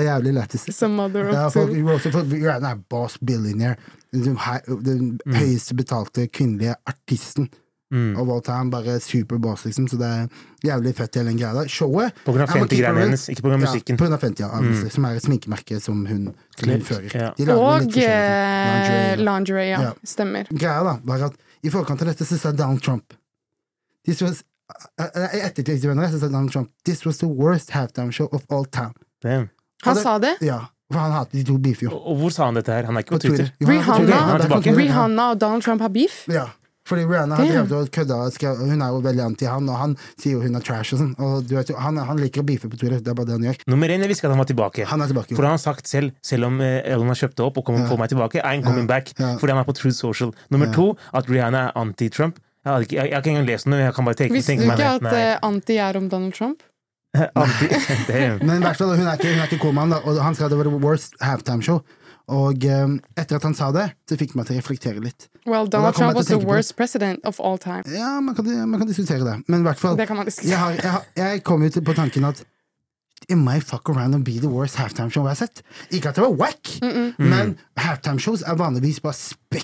[SPEAKER 2] jævlig lættis.
[SPEAKER 3] Som mother
[SPEAKER 2] Ja,
[SPEAKER 3] of
[SPEAKER 2] folk
[SPEAKER 3] two.
[SPEAKER 2] roaster folk Rihanna er boss billionaire. Den, hei- den høyeste betalte kvinnelige artisten. Of all time, bare superboss, liksom. Så det er jævlig fett, hele den greia der. Showet
[SPEAKER 4] På grunn av
[SPEAKER 2] Jeg må
[SPEAKER 4] 50
[SPEAKER 2] keep it
[SPEAKER 4] greiene
[SPEAKER 2] real.
[SPEAKER 4] hennes, ikke på grunn av musikken.
[SPEAKER 2] Ja, på grunn av 50, ja, obviously, Som er et sminkemerke som hun, som hun fører.
[SPEAKER 4] Ja.
[SPEAKER 2] De lager jo litt
[SPEAKER 3] Og eh,
[SPEAKER 2] forskjellig sånn lingerie, da.
[SPEAKER 3] lingerie, ja.
[SPEAKER 2] Ja.
[SPEAKER 3] Stemmer.
[SPEAKER 2] Greia da, var at i forkant av dette så sa Donald Trump This was eh, eh, etter tilsvarende så sa Donald Trump This was the worst halftime show of all time.
[SPEAKER 4] Damn.
[SPEAKER 3] Han
[SPEAKER 2] det-
[SPEAKER 3] sa det.
[SPEAKER 2] Ja, for han hater de to beefer jo.
[SPEAKER 4] Og og hvor sa han dette her? Han er ikke på Twitter.
[SPEAKER 2] Jo, han er på
[SPEAKER 3] Rihanna-
[SPEAKER 2] Twitter. Ja, det er på
[SPEAKER 4] tilbake.
[SPEAKER 2] Twitter.
[SPEAKER 3] Rihanna og Donald Trump har beef.
[SPEAKER 2] Ja. Fordi Rihanna har
[SPEAKER 3] Damn.
[SPEAKER 2] drevet og kødda og skrevet- Hun er jo veldig anti han, og han sier jo hun er trash og sånn. Og du vet jo, han, han liker å beefe på Twitter, det er bare det han gjør.
[SPEAKER 4] Nummer én, jeg visste ikke at han var tilbake.
[SPEAKER 2] Han er tilbake, jo.
[SPEAKER 4] For han har sagt selv, selv om eh, Elon har kjøpt det opp og kommer på meg tilbake, I'm coming back.
[SPEAKER 2] Ja.
[SPEAKER 4] Fordi han er på Truth Social. Nummer to, at Rihanna er anti-Trump. Jeg, hadde ikke- jeg, jeg har ikke engang lest noe, jeg kan bare tenke,
[SPEAKER 3] Visste du
[SPEAKER 4] tenke meg
[SPEAKER 3] ikke
[SPEAKER 4] det.
[SPEAKER 3] at eh, anti er om Donald Trump?
[SPEAKER 4] Nei. Anti, Damn.
[SPEAKER 2] Men i hvert fall, hun er ikke, hun er ikke komaen, da, og han sa det var the worst halftime show. Og eh, etter at han sa det, så fikk det meg til å reflektere litt.
[SPEAKER 3] Well,
[SPEAKER 2] da
[SPEAKER 3] Donald
[SPEAKER 2] kommer jeg
[SPEAKER 3] Trump
[SPEAKER 2] til å
[SPEAKER 3] was the
[SPEAKER 2] tenke på-
[SPEAKER 3] worst president of all time.
[SPEAKER 2] Ja, man kan, man kan diskutere det, men i hvert fall
[SPEAKER 3] Det kan man
[SPEAKER 2] jeg,
[SPEAKER 3] diskutere.
[SPEAKER 2] har, jeg, har- jeg kom jo til på tanken at It might fuck around and be the worst halftime show jeg har sett. Ikke at det var whack, men halftime shows er vanligvis bare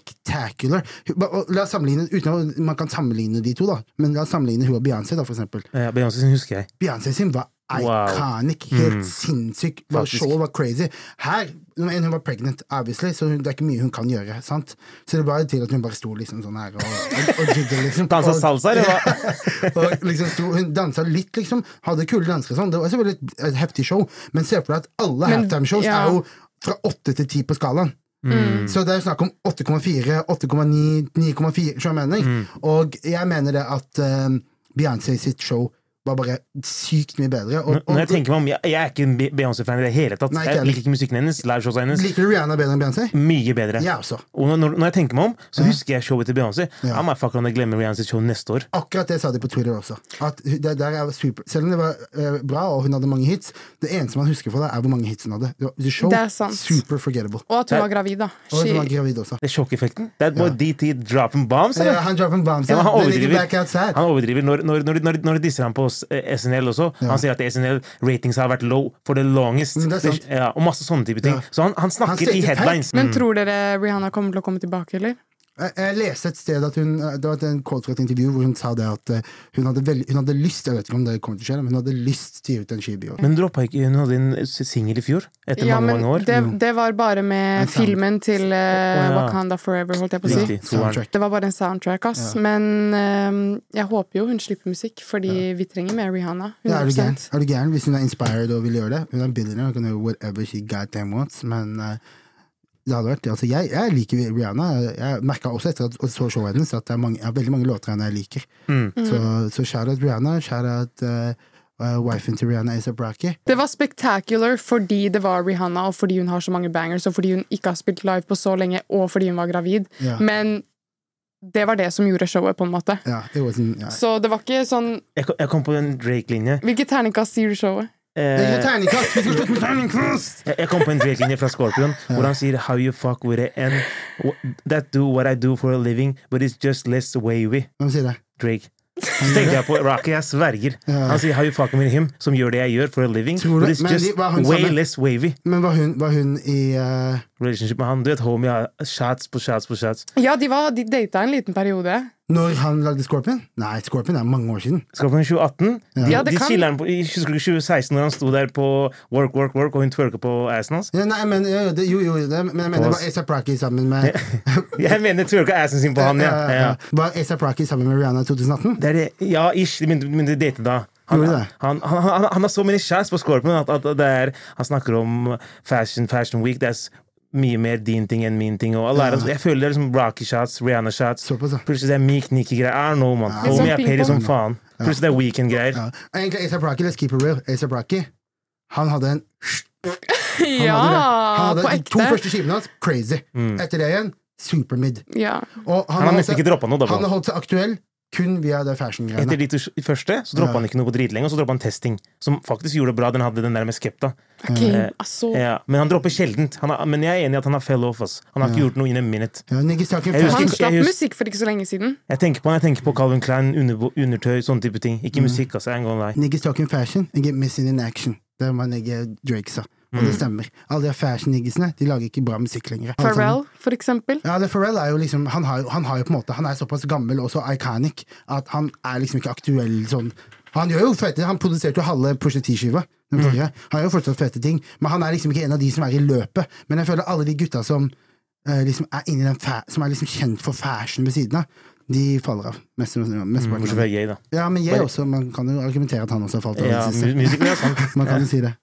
[SPEAKER 2] spectacular. Hun- ba- og La oss sammenligne, uten å, Man kan sammenligne de to, da, men la oss sammenligne hun og Beyoncé, da, for eksempel.
[SPEAKER 4] Eh, Beyoncé sin husker jeg.
[SPEAKER 2] Beyoncé sin var
[SPEAKER 4] Wow. Mm.
[SPEAKER 2] iconic, helt sinnssyk. Var
[SPEAKER 4] Faktisk.
[SPEAKER 2] showet var crazy. Her, nummer en, hun var pregnant, obviously, så hun, det er ikke mye hun kan gjøre. sant? Så det var jo til at hun bare sto liksom sånn her og, og, og jigga, liksom.
[SPEAKER 4] Dansa
[SPEAKER 2] Og-
[SPEAKER 4] salsa, eller hva?
[SPEAKER 2] og liksom sto, hun dansa litt, liksom. Hadde kule dansere. og Sånn. Det var selvfølgelig et, et heftig show, men se for deg at alle
[SPEAKER 3] Men,
[SPEAKER 2] halftime-shows
[SPEAKER 3] ja.
[SPEAKER 2] er jo fra 8 til 10 på skalaen.
[SPEAKER 4] Mm.
[SPEAKER 2] Så det er jo snakk om 8,4, 8,9, 9,4, skjønner du hva jeg mener.
[SPEAKER 4] Mm.
[SPEAKER 2] Og jeg mener det at eh, Beyoncé sitt show var bare sykt mye bedre. Og,
[SPEAKER 4] Når
[SPEAKER 2] og,
[SPEAKER 4] jeg tenker meg om, jeg, jeg er ikke en Be- Beyoncé-fan i det hele tatt.
[SPEAKER 2] Nei, ikke
[SPEAKER 4] Jeg
[SPEAKER 2] heller.
[SPEAKER 4] liker ikke musikken hennes, liveshowsa hennes.
[SPEAKER 2] liker du Rihanna bedre enn Beyoncé?
[SPEAKER 4] Mye bedre.
[SPEAKER 2] Ja, altså.
[SPEAKER 4] Og når, når- når jeg tenker meg om, så husker jeg showet til Beyoncé.
[SPEAKER 2] Ja.
[SPEAKER 4] I'm a fucker om jeg glemmer Rihannas show neste år.
[SPEAKER 2] Akkurat det sa de på Twitter også. At hu- det der er super. Selv om det var eh, bra og hun hadde mange hits, det eneste man husker fra det, er hvor mange hits hun hadde. Det var- The show,
[SPEAKER 3] Det er sant.
[SPEAKER 2] super forgettable.
[SPEAKER 3] Og at hun
[SPEAKER 4] Det-
[SPEAKER 3] var gravid, da.
[SPEAKER 2] Og hun var
[SPEAKER 3] She,
[SPEAKER 2] gravid også.
[SPEAKER 4] Det er sjokkeffekten. That boy DT dropping bombs,
[SPEAKER 2] Ja,
[SPEAKER 4] eller?
[SPEAKER 2] han drar en bombs.
[SPEAKER 4] Sånn, Ja, men han
[SPEAKER 2] Det ligger
[SPEAKER 4] overdriver.
[SPEAKER 2] back outside.
[SPEAKER 4] Han overdriver når, når, når, når, når de disser ham på s- eh, SNL også. Han sier at SNL-ratings har vært low for the longest.
[SPEAKER 2] Men det er sant.
[SPEAKER 4] ja, og masse sånne type ting.
[SPEAKER 2] Ja.
[SPEAKER 4] Så han, han
[SPEAKER 2] Han
[SPEAKER 4] snakker
[SPEAKER 2] sier
[SPEAKER 4] i
[SPEAKER 2] ikke feil.
[SPEAKER 4] headlines.
[SPEAKER 3] men tror dere Rihanna kommer til å komme tilbake, eller?
[SPEAKER 2] Jeg, jeg leste et sted at hun Det var et- en quote fra et intervju hvor hun sa det at eh, hun hadde, veld, hun hadde lyst Jeg vet ikke om det kommer til å skje, men hun hadde lyst til å gi ut en skive i år.
[SPEAKER 4] Men droppa ikke Hun hadde en singel i fjor, etter
[SPEAKER 3] Ja,
[SPEAKER 4] mange,
[SPEAKER 3] men
[SPEAKER 4] mange år.
[SPEAKER 3] det,
[SPEAKER 2] Mm.
[SPEAKER 3] det var bare med
[SPEAKER 2] En sound-
[SPEAKER 3] filmen til eh,
[SPEAKER 4] ja.
[SPEAKER 3] Wakanda Forever, holdt jeg på å si.
[SPEAKER 4] Riktig. toeren.
[SPEAKER 2] Soundtrack.
[SPEAKER 3] Det var bare en soundtrack, ass. Men eh, jeg håper jo hun slipper musikk, fordi vi trenger mer Rihanna.
[SPEAKER 2] Ja, er du
[SPEAKER 3] 100
[SPEAKER 2] gæren? Er du gæren? Hvis hun er inspired og vil gjøre det Hun er billionaire og kan gjøre whatever she goddamn wants, men eh, det hadde vært altså jeg, jeg liker Rihanna. Jeg- Jeg merka også etter at og så showet hennes at det er, mange, jeg har veldig mange låter henne jeg liker. Så, så shout-out Rihanna. Shout-out eh, eh, wifen til Rihanna, Asa Braki.
[SPEAKER 3] Det var spectacular fordi det var Rihanna, og fordi hun har så mange bangers, og fordi hun ikke har spilt live på så lenge, og fordi hun var gravid.
[SPEAKER 2] Ja.
[SPEAKER 3] Men det var det som gjorde showet, på en måte.
[SPEAKER 2] Ja, it wasn't, ja.
[SPEAKER 3] Så det var ikke sånn
[SPEAKER 4] Jeg, kom- jeg kom på en Drake-linje.
[SPEAKER 3] Hvilket terningkast gir du showet?
[SPEAKER 2] Det er
[SPEAKER 4] Eh,
[SPEAKER 2] jo terningkast! Vi skal slutte med terningkast!
[SPEAKER 4] jeg, jeg kom på en Drake-linje fra Scorpion, hvor han sier How you fuck with it and wh- That do what I do for a living, but it's just less wavy.
[SPEAKER 2] Hvem sier det?
[SPEAKER 4] Drake. Så tenkte jeg på Rocky, jeg sverger. Han sier how you fucking with him, som gjør det jeg gjør for a living.
[SPEAKER 2] Tror du-
[SPEAKER 4] But it's
[SPEAKER 2] men
[SPEAKER 4] just
[SPEAKER 2] de- hva er hun
[SPEAKER 4] way
[SPEAKER 2] sammen?
[SPEAKER 4] less wavy
[SPEAKER 2] Men var hun, var hun i eh,
[SPEAKER 4] relationship med han. Du vet, homie har shots på shots på shots.
[SPEAKER 3] Ja, de, var- de data en liten periode.
[SPEAKER 2] Når han lagde Scorpion? Nei, Scorpion er mange år siden.
[SPEAKER 4] Skal på en 2018. De,
[SPEAKER 3] Ja, det
[SPEAKER 4] de
[SPEAKER 3] kan-
[SPEAKER 4] chiller han på, i 2016 når han sto der på work, work, work, og hun twerka på assen hans.
[SPEAKER 2] Ja, nei, men, ja, det, jo, jo, det, men jeg mener det var
[SPEAKER 4] Pause.
[SPEAKER 2] A$AP Rocky sammen med
[SPEAKER 4] Jeg mener twerka assen sin på han, ja.
[SPEAKER 2] Eh,
[SPEAKER 4] ja.
[SPEAKER 2] Var A$AP Rocky sammen med Rihanna i 2018?
[SPEAKER 4] Det er det, ja, ish. De begynte begynte å date da. Han,
[SPEAKER 2] Gjorde
[SPEAKER 4] han,
[SPEAKER 2] det?
[SPEAKER 4] han, han, han har så mye shots på Scorpion at, at det er, han snakker om fashion, fashion week. That's mye mer din ting enn min ting. Og alle er, jeg føler det er liksom Rocky shots, Rihanna shots.
[SPEAKER 2] Såpass, ja.
[SPEAKER 4] Plutselig det er Meek Nikki-greier. I don't know, man.
[SPEAKER 3] Litt
[SPEAKER 4] Homie
[SPEAKER 3] sånn
[SPEAKER 4] er petty
[SPEAKER 3] ping-pong.
[SPEAKER 4] som faen. Plutselig det er Weekend-greier.
[SPEAKER 2] Ja. Egentlig A$AP Rocky, let's keep it real. A$AP Rocky, han hadde en han
[SPEAKER 3] Ja,
[SPEAKER 2] hadde det. Han hadde
[SPEAKER 3] på
[SPEAKER 2] de to
[SPEAKER 3] ekte.
[SPEAKER 2] første skivene hans, crazy. Etter det igjen, supermid.
[SPEAKER 3] Ja.
[SPEAKER 2] Og
[SPEAKER 4] Mm. Han har
[SPEAKER 2] holdt
[SPEAKER 4] nesten
[SPEAKER 2] seg-
[SPEAKER 4] ikke droppa noe, da.
[SPEAKER 2] han
[SPEAKER 4] bro.
[SPEAKER 2] har holdt seg aktuell kun via det fashion-greiene.
[SPEAKER 4] Etter de to s- første så droppa han ikke noe på dritlenge, og så droppa han testing, som faktisk gjorde det bra. Den hadde den der med Skepta.
[SPEAKER 2] Eh,
[SPEAKER 3] Game, altså.
[SPEAKER 4] Ja, men han dropper sjeldent. Han har, men jeg er enig i at han har fell off. Ass. Han har ikke gjort noe in a minute.
[SPEAKER 2] Ja, Niggas talking
[SPEAKER 4] Jeg
[SPEAKER 2] fashion.
[SPEAKER 3] Han
[SPEAKER 4] husker-
[SPEAKER 3] slapp
[SPEAKER 4] jeg husker-
[SPEAKER 3] musikk for ikke så lenge siden.
[SPEAKER 4] Jeg tenker på han, jeg tenker på Calvin Klein, under, undertøy, sånne type ting. Ikke musikk, altså, ass. I ain't gonna lie.
[SPEAKER 2] Niggas talking fashion and get missing in action. Det var nigga Drake sa. Og
[SPEAKER 4] Mm.
[SPEAKER 2] det stemmer. Alle de fashion-niggisene de lager ikke bra musikk lenger. Alle sammen.
[SPEAKER 3] Pharrell, for eksempel.
[SPEAKER 2] Ja, det Pharrell er jo liksom han, har, jo- han har jo på en måte Han er såpass gammel og så iconic at han er liksom ikke aktuell sånn. Han gjør jo fete Han produserte jo halve Pusha T-skiva. den
[SPEAKER 4] Mm.
[SPEAKER 2] forrige. Han gjør jo fortsatt fete ting, men han er liksom ikke en av de som er i løpet. Men jeg føler alle de gutta som eh, liksom er inni den fa Som er liksom kjent for fashion ved siden av, de faller av. Mest, mest
[SPEAKER 4] Mm, Bortsett fra gay, da.
[SPEAKER 2] Ja, men jeg også. Man kan jo argumentere at han også har falt av.
[SPEAKER 4] Ja,
[SPEAKER 2] den
[SPEAKER 4] mu-
[SPEAKER 2] siste.
[SPEAKER 4] musical, ja, sant.
[SPEAKER 2] Man kan jo si det.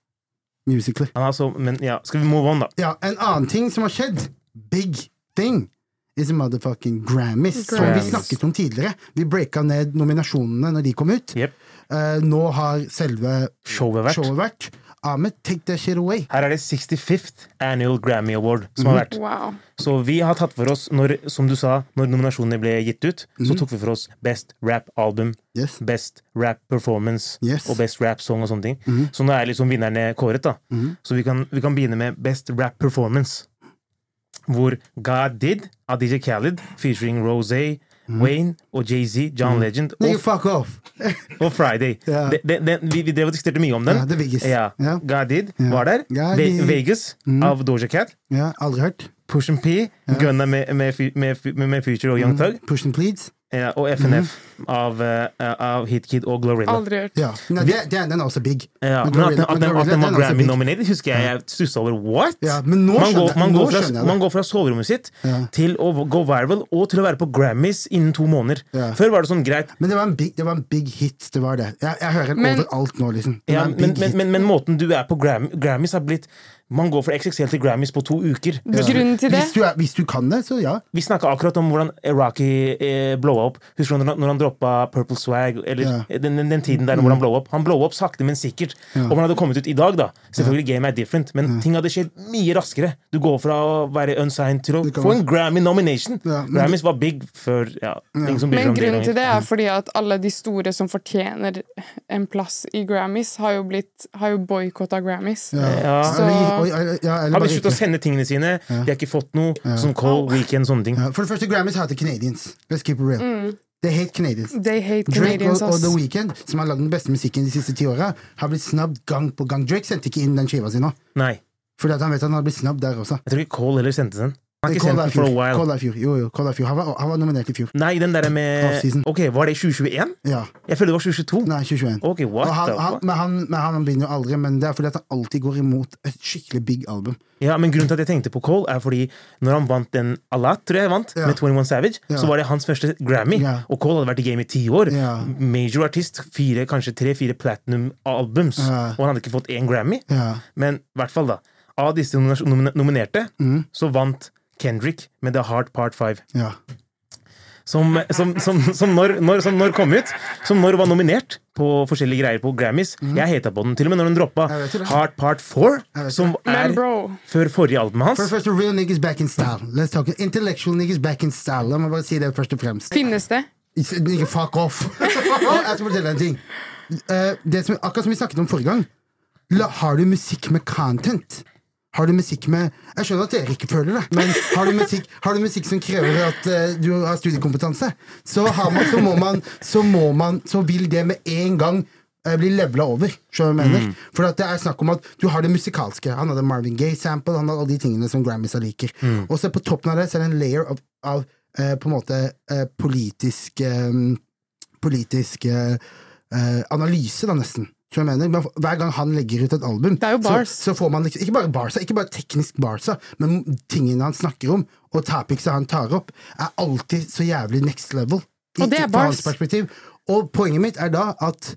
[SPEAKER 2] Musically.
[SPEAKER 4] Han har så, men ja, skal vi move on, da?
[SPEAKER 2] Ja, en annen ting som har skjedd, big thing, is motherfucking Grammys, som vi
[SPEAKER 4] Grammys.
[SPEAKER 2] snakket om tidligere. Vi breaka ned nominasjonene når de kom ut.
[SPEAKER 4] Jep.
[SPEAKER 2] Eh, nå har selve
[SPEAKER 4] Showet vært.
[SPEAKER 2] showet vært. Ahmed, take that shit away.
[SPEAKER 4] Her er det 65th Annual Grammy Award som har vært.
[SPEAKER 3] Wow.
[SPEAKER 4] Så vi har tatt for oss, når, som du sa, når nominasjonene ble gitt ut, så tok vi for oss Best Rap Album,
[SPEAKER 2] Yes.
[SPEAKER 4] Best Rap Performance
[SPEAKER 2] Yes. Mm-hmm.
[SPEAKER 4] og Best Rap Song og sånne ting. Så nå er liksom vinnerne kåret, da. Så vi kan, vi kan begynne med Best Rap Performance, hvor God Did av DJ Khaled featuring Rosé,
[SPEAKER 2] Mm-hmm.
[SPEAKER 4] Wayne og Jay-Z, John Legend og
[SPEAKER 2] Nigga, fuck off!
[SPEAKER 4] og Friday.
[SPEAKER 2] Mm-hmm. Ja.
[SPEAKER 4] Det- det- det- vi, vi drev og diskuterte mye om den.
[SPEAKER 2] Ja, The Biggest.
[SPEAKER 4] Ja.
[SPEAKER 2] Ja.
[SPEAKER 4] Gadid var der.
[SPEAKER 2] Ja, Mm-hmm.
[SPEAKER 4] Ve
[SPEAKER 2] de-
[SPEAKER 4] Vegas av Doja Cat.
[SPEAKER 2] ja, aldri hørt.
[SPEAKER 4] Push and P. Gunna med, med, Fu- med, Fu- med, med Future og Young Thug.
[SPEAKER 2] Push and pleads.
[SPEAKER 4] Ja, og FNF
[SPEAKER 2] Mm-hmm.
[SPEAKER 4] av, eh, av Hit Kid og Glorilla.
[SPEAKER 3] Aldri hørt.
[SPEAKER 2] Ja. Nei, det, det, den er også big.
[SPEAKER 4] Ja,
[SPEAKER 2] Men
[SPEAKER 4] men at den,
[SPEAKER 2] Gorilla-
[SPEAKER 4] at
[SPEAKER 2] men
[SPEAKER 4] den, at
[SPEAKER 2] Gorilla,
[SPEAKER 4] den var
[SPEAKER 2] er også big.
[SPEAKER 4] Grammy-nominert, husker jeg jeg stussa over. What?!
[SPEAKER 2] Ja, men nå
[SPEAKER 4] man,
[SPEAKER 2] skjønner
[SPEAKER 4] går,
[SPEAKER 2] jeg-
[SPEAKER 4] man,
[SPEAKER 2] nå
[SPEAKER 4] går fra,
[SPEAKER 2] skjønner jeg det.
[SPEAKER 4] man går fra soverommet sitt
[SPEAKER 2] Ja.
[SPEAKER 4] til å gå viral og til å være på Grammys innen to måneder.
[SPEAKER 2] Ja.
[SPEAKER 4] Før var det sånn greit.
[SPEAKER 2] Men det var en big, det var en big hit, det var det. Jeg, jeg hører den
[SPEAKER 3] Men-
[SPEAKER 2] overalt nå, liksom. Det
[SPEAKER 4] Ja,
[SPEAKER 2] var en big
[SPEAKER 4] men, men,
[SPEAKER 2] hit.
[SPEAKER 4] men, men måten du er på Gram Grammys, har blitt Man går fra XXL til Grammys på to uker.
[SPEAKER 3] Grunnen til det
[SPEAKER 2] hvis, du er, hvis du kan det, så ja.
[SPEAKER 4] Vi snakka akkurat om hvordan Rocky eh, blowa opp. Husker du når, han- når han droppa Purple Swag? Eller
[SPEAKER 2] Ja. Mm.
[SPEAKER 4] den, den, den tiden der hvor han blowa opp. Han blowa opp sakte, men sikkert. Om han hadde kommet ut i dag, da. Selvfølgelig, game er different, men ting hadde skjedd mye raskere. Du går fra å være unsigned til å
[SPEAKER 2] kan
[SPEAKER 4] få en Grammy nomination.
[SPEAKER 2] Ja, men-
[SPEAKER 4] Grammys var big før ja, ingen som bryr seg
[SPEAKER 3] Men
[SPEAKER 4] om
[SPEAKER 3] grunnen til det
[SPEAKER 4] det.
[SPEAKER 3] er fordi at alle de store som fortjener en plass i Grammys, har jo blitt Har jo boikotta Grammys.
[SPEAKER 4] lenger. Ja.
[SPEAKER 3] Så-
[SPEAKER 2] Eller- oi, oi, ja, eller
[SPEAKER 4] Han
[SPEAKER 2] bare
[SPEAKER 4] Ah. har sluttet å
[SPEAKER 2] ikke.
[SPEAKER 4] sende tingene sine. De har ikke fått noe. Som Cole, Weekend, sånne ting.
[SPEAKER 2] Ja, For det første, Grammys hater Canadians. Let's keep it real. They hate Canadians.
[SPEAKER 3] They hate
[SPEAKER 2] Drake og,
[SPEAKER 3] Mm. Canadians,
[SPEAKER 2] og
[SPEAKER 3] ass.
[SPEAKER 2] The Weeknd, som har lagd den beste musikken de siste ti åra, har blitt snubbed gang på gang. Drake sendte ikke inn den skiva si nå,
[SPEAKER 4] Nei.
[SPEAKER 2] fordi at han vet at han har blitt snubbed der også.
[SPEAKER 4] Jeg tror ikke Cole heller sendte den. Han har ikke
[SPEAKER 2] Call
[SPEAKER 4] sendt
[SPEAKER 2] er
[SPEAKER 4] den for a
[SPEAKER 2] fjor.
[SPEAKER 4] while.
[SPEAKER 2] Call er fjor. Jo, jo, Call er fjor. Han var, han var nominert i fjor.
[SPEAKER 4] Nei, den derre
[SPEAKER 2] Offseason.
[SPEAKER 4] med Ok, var det 2021?
[SPEAKER 2] Ja.
[SPEAKER 4] Jeg føler det var 2022.
[SPEAKER 2] Nei, 2021.
[SPEAKER 4] Ok, what
[SPEAKER 2] Og han,
[SPEAKER 4] the
[SPEAKER 2] han,
[SPEAKER 4] fuck?
[SPEAKER 2] men han, men han begynner jo aldri, men det er fordi at han alltid går imot et skikkelig big album.
[SPEAKER 4] Ja, men grunnen til at jeg tenkte på Cole, er fordi når han vant den Alat, tror jeg han vant,
[SPEAKER 2] Ja.
[SPEAKER 4] med 21 Savage,
[SPEAKER 2] Ja.
[SPEAKER 4] så var det hans første Grammy.
[SPEAKER 2] Ja.
[SPEAKER 4] Og Cole hadde vært i game i ti år.
[SPEAKER 2] Ja.
[SPEAKER 4] Major artist. Fire, kanskje tre-fire platinum albums.
[SPEAKER 2] Ja.
[SPEAKER 4] Og han hadde ikke fått én Grammy.
[SPEAKER 2] Ja.
[SPEAKER 4] Men i hvert fall, da. Av disse nomina- nomina- nominerte,
[SPEAKER 2] Mm.
[SPEAKER 4] så vant Kendrick med The Heart Part 5.
[SPEAKER 2] ja.
[SPEAKER 4] Som, som, som, som, når, når, som når kom ut. Som når var nominert på forskjellige greier på Grammys. Jeg heta på den, til og med når den droppa
[SPEAKER 2] Mhm. Jeg vet jo det.
[SPEAKER 4] Heart Part 4,
[SPEAKER 2] vet jo
[SPEAKER 4] som
[SPEAKER 3] Men
[SPEAKER 4] er
[SPEAKER 3] bro,
[SPEAKER 4] før forrige albumet
[SPEAKER 2] For det
[SPEAKER 4] hans.
[SPEAKER 2] første, real niggas back in style. Let's talk Intellectual niggas back in style. La meg bare si det først og fremst.
[SPEAKER 3] finnes det?
[SPEAKER 2] Nigga, fuck off. Jeg skal fortelle deg en ting. Eh, Det som, akkurat som vi snakket om forrige gang, la, har du musikk med content? Har du musikk med Jeg skjønner at dere ikke føler det, men har du musikk, har du musikk som krever at eh, du har studiekompetanse, så, har man, så må man Så må man Så vil det med en gang eh, bli levela over. Skjønner du hva jeg mener? For at det er snakk om at du har det musikalske. Han hadde Marvin Gaye-sample, han hadde alle de tingene som Grammysa liker. Og så på toppen av det så er det en layer av, av eh, på en måte eh, politisk eh, politisk eh, eh, analyse, da, nesten. Tror jeg mener. Men Hver gang han legger ut et album,
[SPEAKER 3] Det er jo bars.
[SPEAKER 2] Så, så får man liksom, ikke bare barsa, ikke bare teknisk barsa, men tingene han snakker om, og topicsa han tar opp, er alltid så jævlig next level.
[SPEAKER 3] Og det er
[SPEAKER 2] Fra hans
[SPEAKER 3] bars.
[SPEAKER 2] perspektiv. Og poenget mitt er da at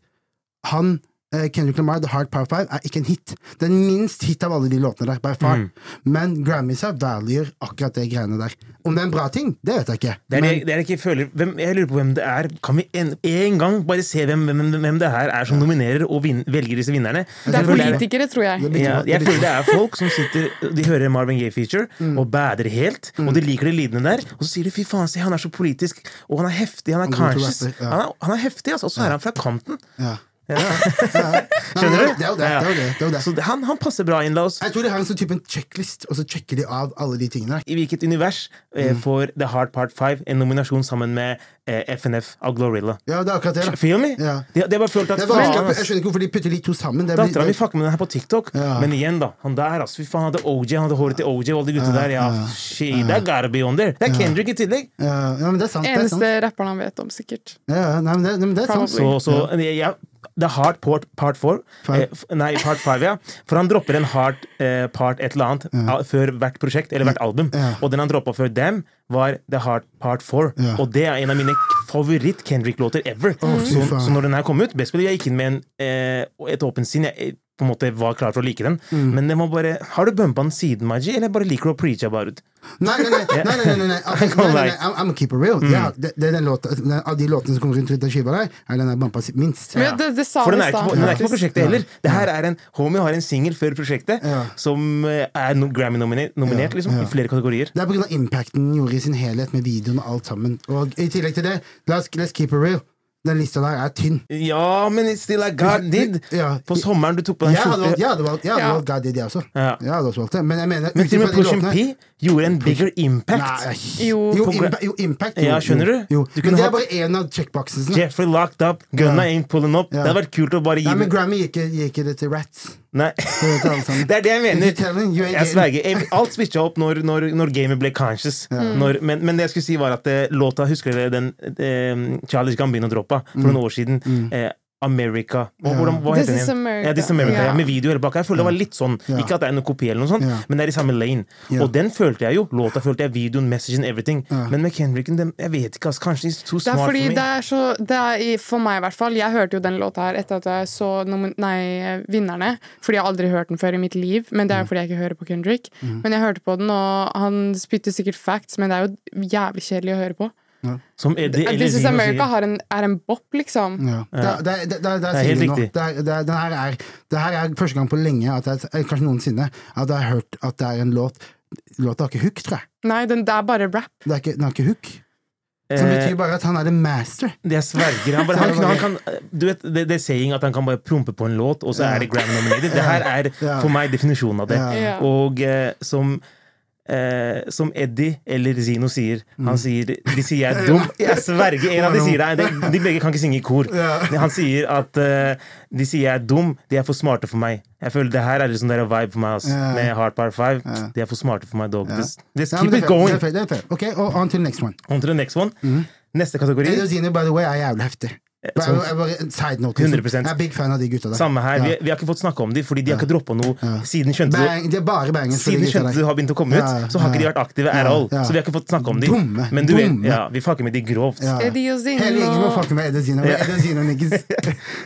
[SPEAKER 2] han eh, Kendrick Lamar, The Hard Power Five, er ikke en hit. Den minst hit av alle de låtene der, by
[SPEAKER 4] Mm.
[SPEAKER 2] far. Men Grammys er valuer akkurat det greiene der. Om det er en bra ting, det vet jeg ikke.
[SPEAKER 4] Det er,
[SPEAKER 2] Men,
[SPEAKER 4] det, det er ikke jeg føler hvem, Jeg lurer på hvem det er. Kan vi en, en gang bare se hvem, hvem, hvem det her er som nominerer og vin, velger disse vinnerne?
[SPEAKER 3] Det er
[SPEAKER 4] Jeg føler det er-
[SPEAKER 3] politikere, tror jeg.
[SPEAKER 2] Det betyr-
[SPEAKER 4] Ja,
[SPEAKER 2] det
[SPEAKER 4] jeg
[SPEAKER 2] betyr- Mm.
[SPEAKER 4] føler det er folk som sitter De hører en Marvin Gaye-feature og bader helt. Og de liker det lidende der. Og så sier de 'fy faen, se, han er så politisk', og han er heftig, han er
[SPEAKER 2] er god til å
[SPEAKER 4] conscious.
[SPEAKER 2] rappe, ja.
[SPEAKER 4] Han, er, han er heftig, altså. Og så er han fra kanten.
[SPEAKER 2] ja.
[SPEAKER 4] Skjønner du?
[SPEAKER 2] Nei, Det er jo det. det, er jo det, det, er jo det.
[SPEAKER 4] Så det- han, han passer bra inn. La oss
[SPEAKER 2] Jeg tror de har en sånn type en checklist, og så sjekker de av alle de tingene. der.
[SPEAKER 4] i hvilket univers eh,
[SPEAKER 2] Mm.
[SPEAKER 4] får The Hard Part 5 en nominasjon sammen med eh, FNF av Glorilla?
[SPEAKER 2] Ja, det er akkurat det. da.
[SPEAKER 4] Feel me?
[SPEAKER 2] Ja.
[SPEAKER 4] De, de har bare følt at
[SPEAKER 2] Det er vanskelig,
[SPEAKER 4] faen,
[SPEAKER 2] å-
[SPEAKER 4] ass.
[SPEAKER 2] jeg skjønner ikke hvorfor de putter de to sammen. Det blir-
[SPEAKER 4] Dattera mi
[SPEAKER 2] det-
[SPEAKER 4] fucker med den her på TikTok,
[SPEAKER 2] Ja.
[SPEAKER 4] men igjen, da. Han der, altså. Fy faen, han hadde OJ, han hadde håret til OJ og alle de gutta der. Ja, shit, det er gotta be on there. Det er Kendrick i tillegg.
[SPEAKER 2] ja, ja, men det er sant. Det er sant.
[SPEAKER 3] Eneste rapperen han vet om, sikkert.
[SPEAKER 2] Ja, ja, nei, men det, nei, men det er sant.
[SPEAKER 4] Så, så ja. Det er hard port, part four.
[SPEAKER 2] Five.
[SPEAKER 4] Eh, f- nei, part five, ja. For han dropper en hard eh, part et eller annet av- før hvert prosjekt eller hvert album.
[SPEAKER 2] Ja.
[SPEAKER 4] Og den han droppa før dem, var The Hard Part Four.
[SPEAKER 2] Ja.
[SPEAKER 4] Og det er en av mine favoritt-Kendrick-låter ever.
[SPEAKER 2] fy
[SPEAKER 4] så,
[SPEAKER 2] faen.
[SPEAKER 4] så når den her kom ut, best believe jeg gikk inn med en, eh, et åpent sinn. Jeg eh, på en måte var klar for å like den.
[SPEAKER 2] Mm.
[SPEAKER 4] Men den var bare Har du bumpa den siden, Maji, eller bare liker du å preache about it?
[SPEAKER 2] Nei, nei, nei. nei, nei, nei, nei, nei. Altså,
[SPEAKER 4] Come
[SPEAKER 2] nei, nei, nei.
[SPEAKER 4] back.
[SPEAKER 2] I'm, I'm a keeper real. Ja,
[SPEAKER 4] Mm.
[SPEAKER 2] det, det er den låta, den, av de låtene som kommer rundt rundt den skiva der, er den der bampa sitt minst.
[SPEAKER 3] Men det, det sa
[SPEAKER 4] For
[SPEAKER 3] vi i
[SPEAKER 4] den er ikke på,
[SPEAKER 3] stad.
[SPEAKER 4] den er ikke på
[SPEAKER 3] faktisk.
[SPEAKER 4] prosjektet heller. Det her er en, Homie har en singel før prosjektet
[SPEAKER 2] Ja.
[SPEAKER 4] som eh, er no, Grammy-nominert nominert, liksom, i flere kategorier.
[SPEAKER 2] Det er pga. impacten den gjorde i sin helhet med videoen og alt sammen. Og i tillegg til det, let's, let's keep it real. Den lista der er tynn.
[SPEAKER 4] Ja, men it's still like God did!
[SPEAKER 2] Ja.
[SPEAKER 4] På sommeren du tok på den
[SPEAKER 2] Jeg hadde valgt,
[SPEAKER 4] skjorte.
[SPEAKER 2] jeg hadde valgt, jeg hadde
[SPEAKER 3] Ja.
[SPEAKER 2] valgt God Did, jeg også.
[SPEAKER 4] Ja.
[SPEAKER 2] Jeg hadde også valgt det. Men jeg mener
[SPEAKER 4] Men til og med
[SPEAKER 2] utifra de
[SPEAKER 4] Push and P
[SPEAKER 2] låtene-
[SPEAKER 4] gjorde en bigger impact.
[SPEAKER 2] Nei,
[SPEAKER 3] Jo.
[SPEAKER 2] jo,
[SPEAKER 4] På-
[SPEAKER 2] impa, jo, impact. Jo,
[SPEAKER 4] Ja, skjønner du?
[SPEAKER 2] Jo.
[SPEAKER 4] Du kunne
[SPEAKER 2] Men det er
[SPEAKER 4] hatt-
[SPEAKER 2] bare én av checkboxene.
[SPEAKER 4] Jeffrey locked up, gunna ain't pulling up.
[SPEAKER 2] Ja.
[SPEAKER 4] Det hadde vært kult å bare gi
[SPEAKER 2] Nei, men
[SPEAKER 4] den
[SPEAKER 2] Grammy gir ikke- gir ikke det til Rats.
[SPEAKER 4] Nei.
[SPEAKER 2] Det er alle sammen.
[SPEAKER 4] Det er det jeg
[SPEAKER 2] If you tell
[SPEAKER 4] mener.
[SPEAKER 2] him, you ain't
[SPEAKER 4] Jeg
[SPEAKER 2] getting-
[SPEAKER 4] sverger. Jeg- Alt switcha opp når, når, når gamet ble conscious. Mm. Når, men, men det jeg skulle si, var at eh, låta Husker dere den eh, Charlies Gambino-droppa
[SPEAKER 2] Mm.
[SPEAKER 4] for noen år siden? Eh, America. Hva, hvordan, hva
[SPEAKER 3] This
[SPEAKER 4] heter den
[SPEAKER 3] is
[SPEAKER 4] igjen?
[SPEAKER 3] America.
[SPEAKER 4] Ja, This is America ja.
[SPEAKER 3] Ja.
[SPEAKER 4] Med video hele bak. Jeg føler det var litt sånn. Ikke at det er noen kopi, eller noe sånt,
[SPEAKER 2] Ja.
[SPEAKER 4] men det er i samme lane.
[SPEAKER 2] Ja.
[SPEAKER 4] Og den følte jeg jo. Låta følte jeg, videoen, messagen, everything. Men med Kendricken, den, jeg vet ikke, ass, kanskje it's too
[SPEAKER 3] Det er
[SPEAKER 4] smart for
[SPEAKER 3] fordi
[SPEAKER 4] me.
[SPEAKER 3] det er så det er, i- For meg, i hvert fall. Jeg hørte jo den låta her etter at jeg så nomin- nei, Vinnerne. Fordi jeg har aldri hørt den før i mitt liv. Men det er jo fordi jeg ikke hører på Kendrick. Men jeg hørte på den, og han spytter sikkert facts, men det er jo jævlig kjedelig å høre på.
[SPEAKER 4] Som Eddie eller
[SPEAKER 3] This Is
[SPEAKER 4] Zino
[SPEAKER 3] America
[SPEAKER 4] sier.
[SPEAKER 3] har en, er en bop, liksom.
[SPEAKER 2] Ja. Det, det, det, det, det er
[SPEAKER 4] er helt
[SPEAKER 2] helt riktig.
[SPEAKER 4] riktig.
[SPEAKER 2] Det, er, det, er- det, her er, det her er første gang på lenge, at jeg, eh, kanskje noensinne, at jeg har hørt at det er en låt Låta har ikke hook, tror jeg.
[SPEAKER 3] Nei, den, det er bare rap.
[SPEAKER 2] Det er ikke, den har ikke hook. Som
[SPEAKER 4] Eh,
[SPEAKER 2] betyr bare at han er en master.
[SPEAKER 4] Det jeg sverger. Han bare, han, kunne- han kan, du vet, det, det er saying at han kan bare prompe på en låt, og så er det Grammy-nominated. Det her er for meg definisjonen av det.
[SPEAKER 3] Ja.
[SPEAKER 4] Og eh, som eh, som Eddie eller Zino sier
[SPEAKER 2] Mm.
[SPEAKER 4] Han sier De sier jeg er dum. Jeg sverger. En av de sier det. De, de begge kan ikke synge i kor. Men Han sier at eh, de sier jeg er dum, de er for smarte for meg. Jeg føler Det her er liksom der vibe for meg. Altså.
[SPEAKER 2] Ja.
[SPEAKER 4] Med Hard Part 5. De er for smarte for meg, dog. Just, just
[SPEAKER 2] Ja, men det
[SPEAKER 4] keep it
[SPEAKER 2] er fair, Det
[SPEAKER 4] going.
[SPEAKER 2] er Mm. fair, det er fair. Ok, og on til next one.
[SPEAKER 4] On to the next one. Neste kategori.
[SPEAKER 2] Elozini, by the way, er jævlig heftig. Bare,
[SPEAKER 4] sånn-
[SPEAKER 2] jeg bare, en side note, liksom.
[SPEAKER 4] 100%.
[SPEAKER 2] Jeg er big fan av de gutta der.
[SPEAKER 4] Samme her.
[SPEAKER 2] Ja.
[SPEAKER 4] Vi, vi har ikke fått snakke om dem, fordi de har ikke droppa noe siden skjønte du
[SPEAKER 2] Bang, de er bare bangers. for de
[SPEAKER 4] siden
[SPEAKER 2] gutta
[SPEAKER 4] skjønte
[SPEAKER 2] der.
[SPEAKER 4] du har begynt å komme ut,
[SPEAKER 2] Ja,
[SPEAKER 4] så har ikke de vært aktive at
[SPEAKER 2] ja,
[SPEAKER 4] all.
[SPEAKER 2] ja.
[SPEAKER 4] Så vi har ikke fått snakke om dem.
[SPEAKER 2] Dumme,
[SPEAKER 4] Men du
[SPEAKER 2] dumme.
[SPEAKER 4] vet, ja, vi fucker med de grovt.
[SPEAKER 2] Ja.
[SPEAKER 3] Eddie og Zino.
[SPEAKER 2] Hele gjengen må fucke med Edozino.
[SPEAKER 4] Ja.
[SPEAKER 2] Edozino niggas.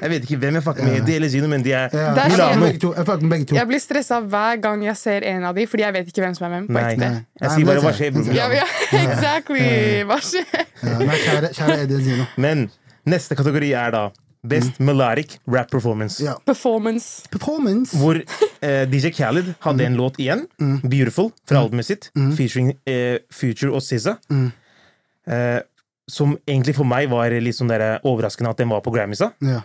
[SPEAKER 4] Jeg vet ikke hvem jeg fucker med, de eller Zino, men de er
[SPEAKER 2] Ja.
[SPEAKER 3] Der
[SPEAKER 2] Jeg
[SPEAKER 3] skjer-
[SPEAKER 2] fucker med begge to. Jeg fucker med begge to.
[SPEAKER 3] Jeg blir stressa hver gang jeg ser en av de, fordi jeg vet ikke hvem som er hvem. på
[SPEAKER 4] Nei.
[SPEAKER 3] ekte.
[SPEAKER 4] Jeg
[SPEAKER 2] Nei,
[SPEAKER 4] sier
[SPEAKER 2] men
[SPEAKER 4] bare
[SPEAKER 2] det
[SPEAKER 4] hva
[SPEAKER 2] er
[SPEAKER 4] skjer,
[SPEAKER 2] sant.
[SPEAKER 4] bror?
[SPEAKER 3] Ja, ja, exactly! Hva skjer?
[SPEAKER 2] Ja, nei, kjære, kjære Edozino.
[SPEAKER 4] Men neste kategori er da Best melodic rap performance.
[SPEAKER 2] Mm. Ja.
[SPEAKER 3] Performance.
[SPEAKER 2] Performance.
[SPEAKER 4] Hvor eh, DJ Khaled hadde
[SPEAKER 2] Mm.
[SPEAKER 4] en låt igjen, 'Beautiful', fra albumet sitt, featuring eh, Future og SZA.
[SPEAKER 2] Mm.
[SPEAKER 4] Eh, som egentlig for meg var litt sånn der, overraskende at den var på Grammysa.
[SPEAKER 2] Ja,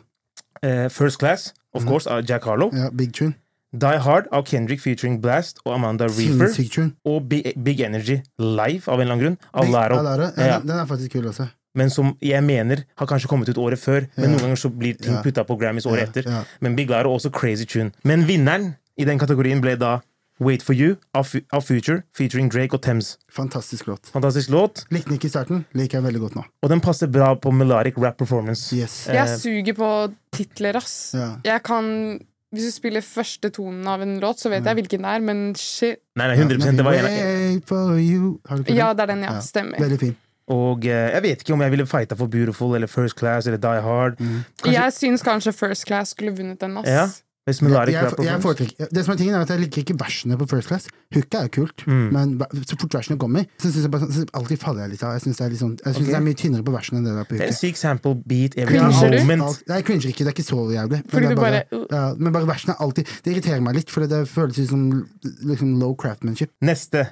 [SPEAKER 4] Eh, First Class,
[SPEAKER 2] Mm.
[SPEAKER 4] of course, av Jack Harlow.
[SPEAKER 2] ja, big tune.
[SPEAKER 4] Die Hard av Kendrick featuring Blast og Amanda Reefer.
[SPEAKER 2] Sinnssyk tune.
[SPEAKER 4] Og Big, Big Energy live, av en eller annen grunn, av Laro.
[SPEAKER 2] Alaro. Ja,
[SPEAKER 4] Ja.
[SPEAKER 2] Den, den er faktisk kul også.
[SPEAKER 4] Men som jeg mener har kanskje kommet ut året før. Men
[SPEAKER 2] Ja.
[SPEAKER 4] noen ganger så blir ting
[SPEAKER 2] Ja.
[SPEAKER 4] putta på Grammys året
[SPEAKER 2] Ja,
[SPEAKER 4] etter.
[SPEAKER 2] ja.
[SPEAKER 4] Men Big Laro også crazy tune. Men vinneren i den kategorien ble da Wait for You av, Fu- av Future featuring Drake og Thames.
[SPEAKER 2] Fantastisk låt.
[SPEAKER 4] Fantastisk låt.
[SPEAKER 2] Likte den ikke i starten, liker jeg veldig godt nå.
[SPEAKER 4] Og den passer bra på melodic rap performance.
[SPEAKER 2] Yes.
[SPEAKER 4] Eh,
[SPEAKER 3] Jeg suger på titler, ass.
[SPEAKER 2] Ja.
[SPEAKER 3] Jeg kan Hvis du spiller første tonen av en låt, så vet jeg hvilken det er, men shit.
[SPEAKER 4] Nei, nei, 100 det var en av
[SPEAKER 2] Wait for you. Har du ikke
[SPEAKER 3] Ja,
[SPEAKER 2] den?
[SPEAKER 3] det er den, ja.
[SPEAKER 2] Ja.
[SPEAKER 3] Stemmer.
[SPEAKER 2] Veldig fin.
[SPEAKER 4] Og eh, jeg vet ikke om jeg ville fighta for Beautiful eller First Class eller Die Hard.
[SPEAKER 2] Mm.
[SPEAKER 4] Kanskje-
[SPEAKER 3] Jeg syns kanskje First Class skulle vunnet den, ass.
[SPEAKER 4] Ja. Hvis Melodic
[SPEAKER 2] jeg,
[SPEAKER 4] Rap
[SPEAKER 2] jeg
[SPEAKER 4] Performance-
[SPEAKER 2] foretrekker, det som er tingen er at jeg liker ikke versene på First Class. Hooket er jo kult,
[SPEAKER 4] Mm.
[SPEAKER 2] men hver- så fort versene kommer, så synes jeg bare, sånn- så alltid faller jeg litt av. Jeg synes det er, litt sånn, jeg synes
[SPEAKER 4] Ok.
[SPEAKER 2] det er mye tynnere på versene enn det der på
[SPEAKER 4] Det er en
[SPEAKER 2] hooket.
[SPEAKER 4] syk sample beat every
[SPEAKER 3] Cringe Cringer du?
[SPEAKER 2] Alt-
[SPEAKER 4] moment.
[SPEAKER 2] alt- Nei, jeg cringer ikke. Det er ikke så jævlig. Men,
[SPEAKER 3] Fordi
[SPEAKER 2] det er
[SPEAKER 3] du
[SPEAKER 2] bare,
[SPEAKER 3] bare-
[SPEAKER 2] ja, men bare versene er alltid Det irriterer meg litt, for det føles ut som liksom low craftmanship.
[SPEAKER 4] Neste.